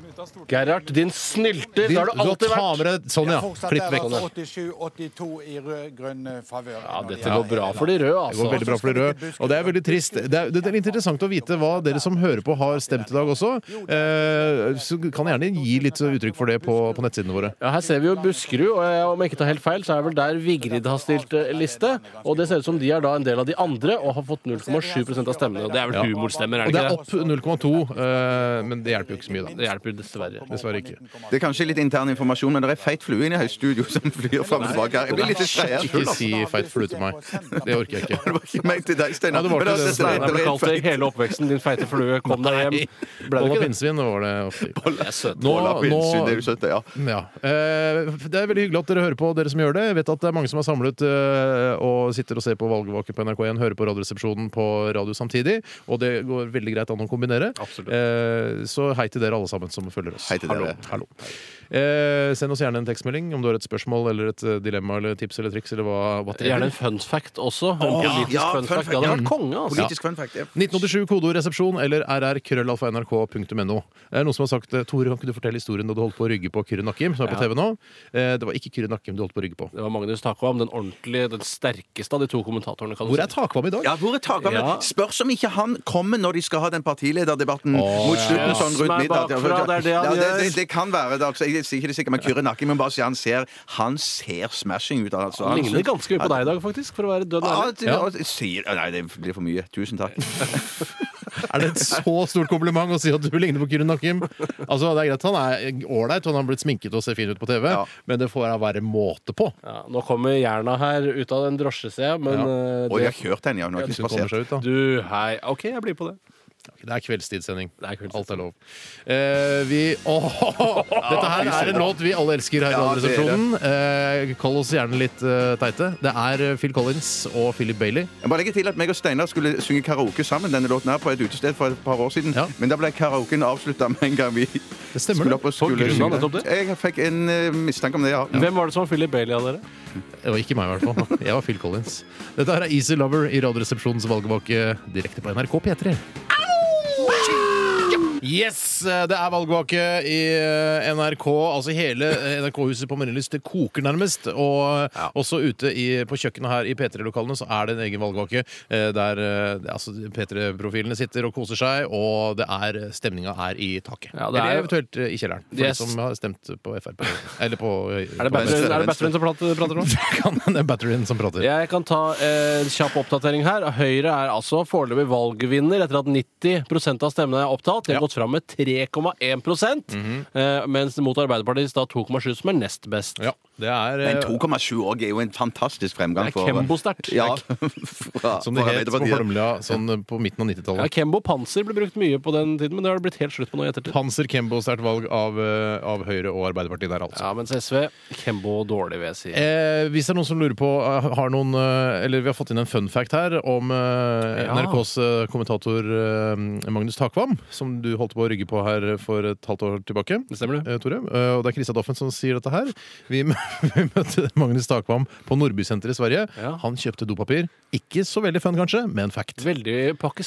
S2: Gerhard, din snylter.
S1: Din-
S2: Det har du
S1: du
S2: alltid
S1: tar
S2: vært.
S1: med deg- sånn, ja.
S4: Fortsatt
S1: Klipp
S4: er
S1: vekk.
S4: altså 87-82 i rød-grønn eh, favør. når det
S1: dette
S4: gjelder
S1: går bra
S4: hele
S1: for de
S4: landet.
S1: røde,
S2: altså.
S1: Det går veldig bra for de røde. Og det er veldig trist. Det er, det er litt interessant å vite hva dere som hører på, har stemt i dag også. Eh, så kan gjerne gi litt uttrykk for det på, på nettsidene våre.
S2: Ja, her ser vi jo Buskerud, og jeg, om jeg ikke tar helt feil, så er det vel der Vigrid har stilt eh, liste. Og det ser ut som de er da en del av de andre og har fått 0,7 av stemmene. Det er vel
S1: Ja.
S2: humorstemmer,
S1: Og
S2: er det
S1: det er
S2: ikke det?
S1: opp 0,2, eh, men det hjelper jo ikke så mye, da.
S2: Det hjelper dessverre.
S1: ikke.
S3: Det er kanskje litt intern informasjon, men det er feit flue inne i høystudio som flyr fram og tilbake her. Jeg blir litt distrahert.
S1: Ikke si feit flue til meg. Det orker jeg ikke.
S3: Det var ikke ment til deg,
S1: Ja,
S3: Steinar.
S1: det var
S3: Men
S1: ikke
S3: altså,
S1: det, Steinar.
S2: Jeg
S3: Steinar,
S2: ble
S3: er
S2: kalt det
S3: feit.
S2: hele oppveksten, din feite flue. Kom deg hjem.
S1: Boll
S2: Ble det
S1: og
S2: ikke det?
S1: pinnsvin var det ofte.
S2: søtt.
S1: Nå-
S3: Boll og pinnsvin,
S1: nå-
S3: det er jo søtt, det, ja.
S1: Ja. Eh, Det er veldig hyggelig at dere hører på, dere som gjør det. Jeg vet at det er mange som er samlet eh, og sitter og ser på valgvaken på NRK1, hører på Radioresepsjonen på radio samtidig, og det går veldig greit an å kombinere. Eh, Så hei til dere alle sammen som følger oss.
S3: Hei til
S1: Hallo.
S3: dere.
S1: Hallo. Eh, Send oss gjerne en tekstmelding om du har et spørsmål eller et eh, dilemma eller tips eller triks eller hva whatever.
S2: Gjerne en fun fact også. En
S1: Åh,
S2: politisk
S1: ja,
S2: fun
S1: fun
S2: fact.
S1: fact,
S2: Det
S1: ja.
S2: hadde vært konge, altså.
S1: Politisk fun fact, 1987 kodeord resepsjon eller rrkrøllalfa.nrk.no. Det er noen som har sagt eh, Tore, kan ikke du fortelle historien da du holdt på å rygge på Kyrre Nakkim, som er på
S2: Ja.
S1: TV nå? Eh, Det var ikke Kyrre Nakkim du holdt på å rygge på.
S2: Det var Magnus Takvam, den ordentlige, den sterkeste av de to kommentatorene. Kan du
S1: Hvor
S2: si.
S1: er Takvam i dag?
S3: Ja, hvor er Takvam?
S2: Ja.
S3: Spørs om ikke han kommer når de skal ha den partilederdebatten mot slutten.
S2: ja.
S3: sånn rundt
S2: Smell
S3: middag.
S2: bakfra, det er det han
S3: Ja, det,
S2: gjør.
S3: det, det kan være det. Altså. Jeg sier ikke det sikkert med Kyrre Nakken, men bare si han ser, han ser smashing ut. Altså.
S2: Han ligner ganske mye på deg i dag, faktisk, for å være dønn
S3: Ja,
S1: Ah.
S2: ærlig.
S3: det- sier, nei, det blir for mye. Tusen takk.
S1: Er det et så stort kompliment å si at du ligner på Kyrre Nakkim? Altså, det er greit, han er ålreit, og han har blitt sminket og ser fin ut på TV, men det får da være måte på.
S2: Ja, nå kommer Jerna her ut av den drosje, ser jeg, men
S1: Ja.
S2: eh,
S1: Og
S2: det-
S1: jeg har kjørt den, jeg, hun har ikke
S2: Ja, du
S1: spasert.
S2: kommer seg ut, da. Du, hei. OK, jeg blir på det.
S1: Det er kveldstidssending. Alt er lov. Eh, vi Åh! Dette her er en låt vi alle elsker her i
S16: Ja, det er det.
S1: Radioresepsjonen. Eh, kall oss gjerne litt eh, teite. Det er eh, Phil Collins og Philip Bailey.
S3: Jeg bare legger til at meg og Steinar skulle synge karaoke sammen denne låten her på et utested for et par år siden. Men da ble karaoken avslutta med en gang vi
S1: stemmer,
S3: skulle opp
S2: På
S3: og skulle
S2: grunn av
S3: synge.
S2: nettopp det?
S3: Jeg fikk en eh, mistanke om det, ja.
S2: Hvem var det som var Philip Bailey av dere?
S1: Det var Eh, ikke meg, i hvert fall. Jeg var Phil Collins. Dette her er Easy Lover i Radioresepsjonens valgvake direkte på NRK P3. Yes! eh, Det er valgvake i eh, NRK. Altså hele eh, NRK-huset på Marienlyst. Det koker nærmest. Og eh, også ute i, på kjøkkenet her i P3-lokalene så er det en egen valgvake eh, der eh, det- altså, P3-profilene sitter og koser seg, og det er eh, stemninga er i taket.
S2: Ja, det er-
S1: Eller eventuelt eh, i kjelleren, for
S2: Yes.
S1: de som har stemt på Frp. Eller på Er
S2: Er det batterien, er det batterien som prater, prater nå?
S1: Det er batterien som prater.
S2: Jeg kan ta eh, en kjapp oppdatering her. Høyre er altså foreløpig valgvinner etter at 90 av stemmene er opptatt. De har gått fram med 3,1 eh, mens mot Arbeiderpartiet da 2,7, som er nest best.
S1: Det er eh,
S3: Men 2,7 år er jo en fantastisk fremgang.
S1: Det er
S3: for-
S1: Kembo-sterkt.
S3: Ja, fra,
S1: som det
S3: for
S1: het på
S3: Arbeiderpartiet.
S1: Holmlia sånn eh, på midten av 90-tallet.
S2: Ja, Kembo panser ble brukt mye på den tiden, men det har det blitt helt slutt på nå i ettertid.
S1: Panser Kembo sterkt valg av, eh, av Høyre og Arbeiderpartiet der, altså.
S2: Ja, mens SV Kembo dårlig, vil jeg si.
S1: Eh, hvis det er noen som lurer på eh, har noen, eh, eller Vi har fått inn en fun fact her om eh,
S2: Ja.
S1: NRKs eh, kommentator eh, Magnus Takvam, som du holdt på å rygge på her for et halvt år tilbake.
S2: Det stemmer det.
S1: Eh, Tore. Eh, og det er Christian Doffen som sier dette her. Vi, mø- vi møtte Magnus Takvam på Nordbysenteret i Sverige. Han kjøpte dopapir. Ikke så veldig fun, kanskje, men fact.
S2: Veldig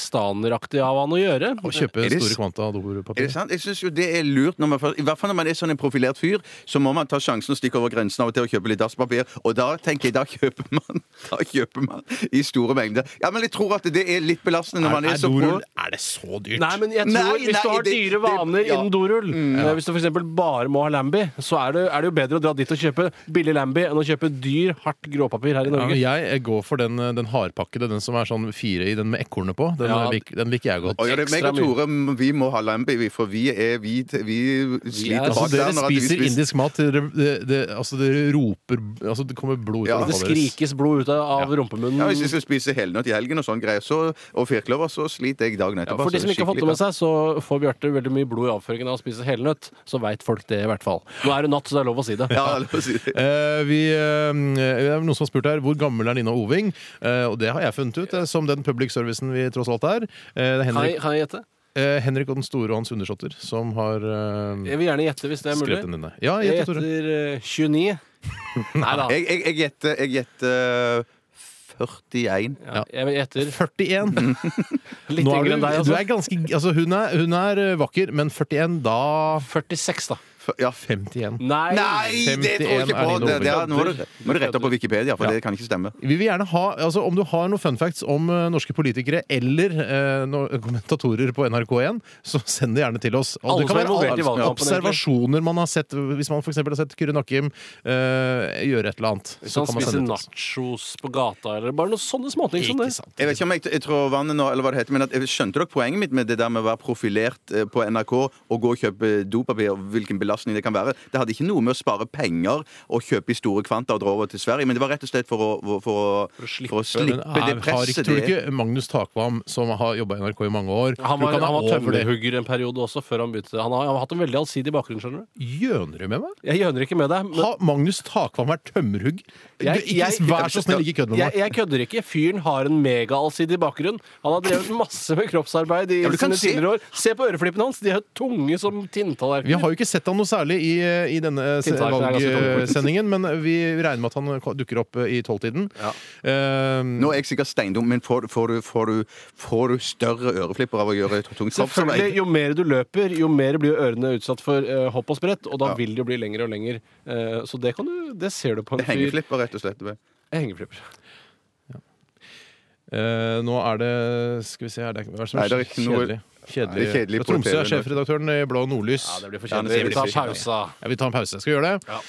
S2: pakistaneraktig av han å gjøre.
S1: Å kjøpe
S3: Er det
S1: store
S3: s-
S1: kvanta
S3: Er
S1: dopapir.
S3: det sant? Jeg synes jo det er lurt, når man, først- i hvert fall når man er sånn en profilert fyr, så må man ta sjansen og stikke over grensen av og til og kjøpe litt dasspapir. Og da tenker jeg, da kjøper man da kjøper man i store mengder. Ja, men jeg tror at det er litt belastende når man er, så
S1: dorull-
S3: pro...
S1: er det så dyrt?
S2: Nei, men jeg tror
S3: Nei,
S2: Hvis du
S3: nei,
S2: har
S3: det-
S2: dyre
S3: det-
S2: vaner
S3: ja. Mm.
S2: innen dorull, eh, hvis du f.eks. bare må ha Lambi, så er det, er det jo bedre å dra dit og kjøpe billig Lambi enn å kjøpe dyr, hardt gråpapir her i
S1: Ja, men
S2: Norge.
S1: jeg går for den, den hardpakkede, den som er sånn fire i, den med ekornet på. Den,
S2: Ja,
S1: lik, den liker jeg godt.
S3: Og ja, det er meg og Tore, vi må ha lambi, vi, for vi er Vi, vi sliter
S1: altså,
S3: bak
S1: dere
S3: der når at vi
S1: spiser
S3: spiser-
S1: indisk mat. Dere, det, det, altså, dere roper altså, Det kommer blod ut
S3: Ja.
S1: av
S2: Det
S1: rumpa deres.
S2: skrikes blod ut av, av rumpemunnen.
S3: Ja, Hvis jeg skal spise helnøtt i helgen og sånn greier, så, og firkløver, så sliter jeg dagen
S2: Ja,
S3: etterpå.
S2: for de
S3: så
S2: som
S3: det er
S2: ikke har fått det
S3: skikkelig-
S2: med seg, så får Bjarte veldig mye blod i avføringen av å spise helnøtt. Så veit folk det, i hvert fall. Nå er det natt, så det er lov å si det.
S3: Ja, la oss si det.
S1: Eh, vi, eh, det er noen som har spurt her hvor gammel er Nina Oving. Eh, og det har jeg funnet ut, eh, som den public servicen vi tross alt er. Eh, det er
S2: Kan jeg,
S1: Henrik,
S2: kan jeg gjette?
S1: eh, Henrik og den store og hans undersåtter som har eh,
S2: Jeg vil gjerne gjette hvis det er mulig.
S1: skrevet den inn der. Ja,
S2: jeg
S1: gjett, Tore.
S2: gjetter eh, 29. Nei da.
S3: Jeg- jeg- Jeg gjetter jeg gjetter 41.
S2: Ja, jeg gjetter
S1: 41.
S2: litt
S1: Nå er
S2: yngre
S1: du,
S2: enn deg.
S1: du
S2: Altså.
S1: er ganske, altså, hun, er, hun er eh, vakker, men 41 da
S2: 46, da.
S3: Ja,
S1: 51.
S2: Nei!
S3: Nei, det tror jeg
S1: 51
S3: ikke på!
S1: er din
S3: Det, det er,
S1: overgang.
S3: nå må du, må du rette opp på Wikipedia, for det kan ikke stemme.
S1: Vi vil gjerne ha, altså Om du har noen fun facts om eh, norske politikere eller eh, no kommentatorer på NRK1, så send det gjerne til oss. Og
S2: Alle
S1: det kan
S2: som er
S1: være
S2: involvert i valgkampen,
S1: ja,
S2: egentlig.
S1: observasjoner man har sett. Hvis man for eksempel har sett Kyrre Nakkim eh, gjøre et eller annet,
S2: Hvis
S1: så
S2: han
S1: kan man
S2: spiser
S1: sende det til oss.
S2: nachos på gata, eller bare noen sånne småting som det.
S1: Ikke sant.
S3: Jeg vet ikke om jeg, jeg tror vannet nå, eller hva det heter, men at, jeg skjønte dere poenget mitt med det der med å være profilert eh, på NRK og gå og kjøpe dopapir, og hvilken belastning det kan være? Det hadde ikke noe med å spare penger og kjøpe i store kvanta og dra over til Sverige, men det var rett og slett for å, for, å- for å slippe,
S1: Men er-
S3: det
S1: har ikke,
S3: presset.
S1: tror du
S3: det-
S1: ikke Magnus Takvam, som har jobba i NRK i mange år
S2: Han
S1: tror du
S2: var,
S1: ikke
S2: han var
S1: er over det?
S2: tømmerhugger en periode også, før han begynte. Han har, han har hatt en veldig allsidig bakgrunn, skjønner du.
S1: Gjøner du med meg?
S2: Jeg gjøner ikke med deg. men-
S1: Har Magnus Takvam vært tømmerhugg? Du,
S2: Jeg-
S1: ikke,
S2: jeg-
S1: vær så snill, ikke kødd med meg.
S2: Jeg, jeg kødder ikke. Fyren har en megaalsidig bakgrunn. Han har drevet masse med kroppsarbeid i
S3: Ja, men du kan
S2: sine
S3: se-
S2: tidligere år. Se på øreflippene hans! De er tunge som
S1: Vi
S2: tinntallerkener.
S1: har jo ikke sett han noe særlig i, i denne se-
S2: Tiltak, det er ganske dumt.
S1: valgsendingen, men vi regner med at han dukker opp i tolvtiden.
S2: Ja.
S1: Eh,
S3: Nå er jeg sikkert steindum, men får, får, du, får, du, får du større øreflipper av å gjøre et tungt
S2: Selvfølgelig,
S3: kroppsarbeid?
S2: Jo mer du løper, jo mer blir jo ørene utsatt for eh, hopp og sprett, og da vil det jo bli lengre og lengre. Eh, så det, kan du, det ser du på en
S3: Det er Hengeflipper, rett og slett. vel.
S2: Hengeflipper.
S1: eh, nå er det Skal vi se her det er, hva er det som
S3: Nei, det er ikke noe-
S1: kjedelig.
S3: Nei, det er kjedelig
S1: Fra Tromsø
S3: på
S1: er
S3: TV.
S1: sjefredaktøren i Blå Nordlys.
S2: Ja, det blir for
S3: Ja,
S2: kjedelig.
S3: det
S2: Vi
S3: blir
S2: tar
S3: for kjedelig.
S2: pausa.
S1: Ja, vi tar en pause. Skal vi gjøre det?
S2: Ja.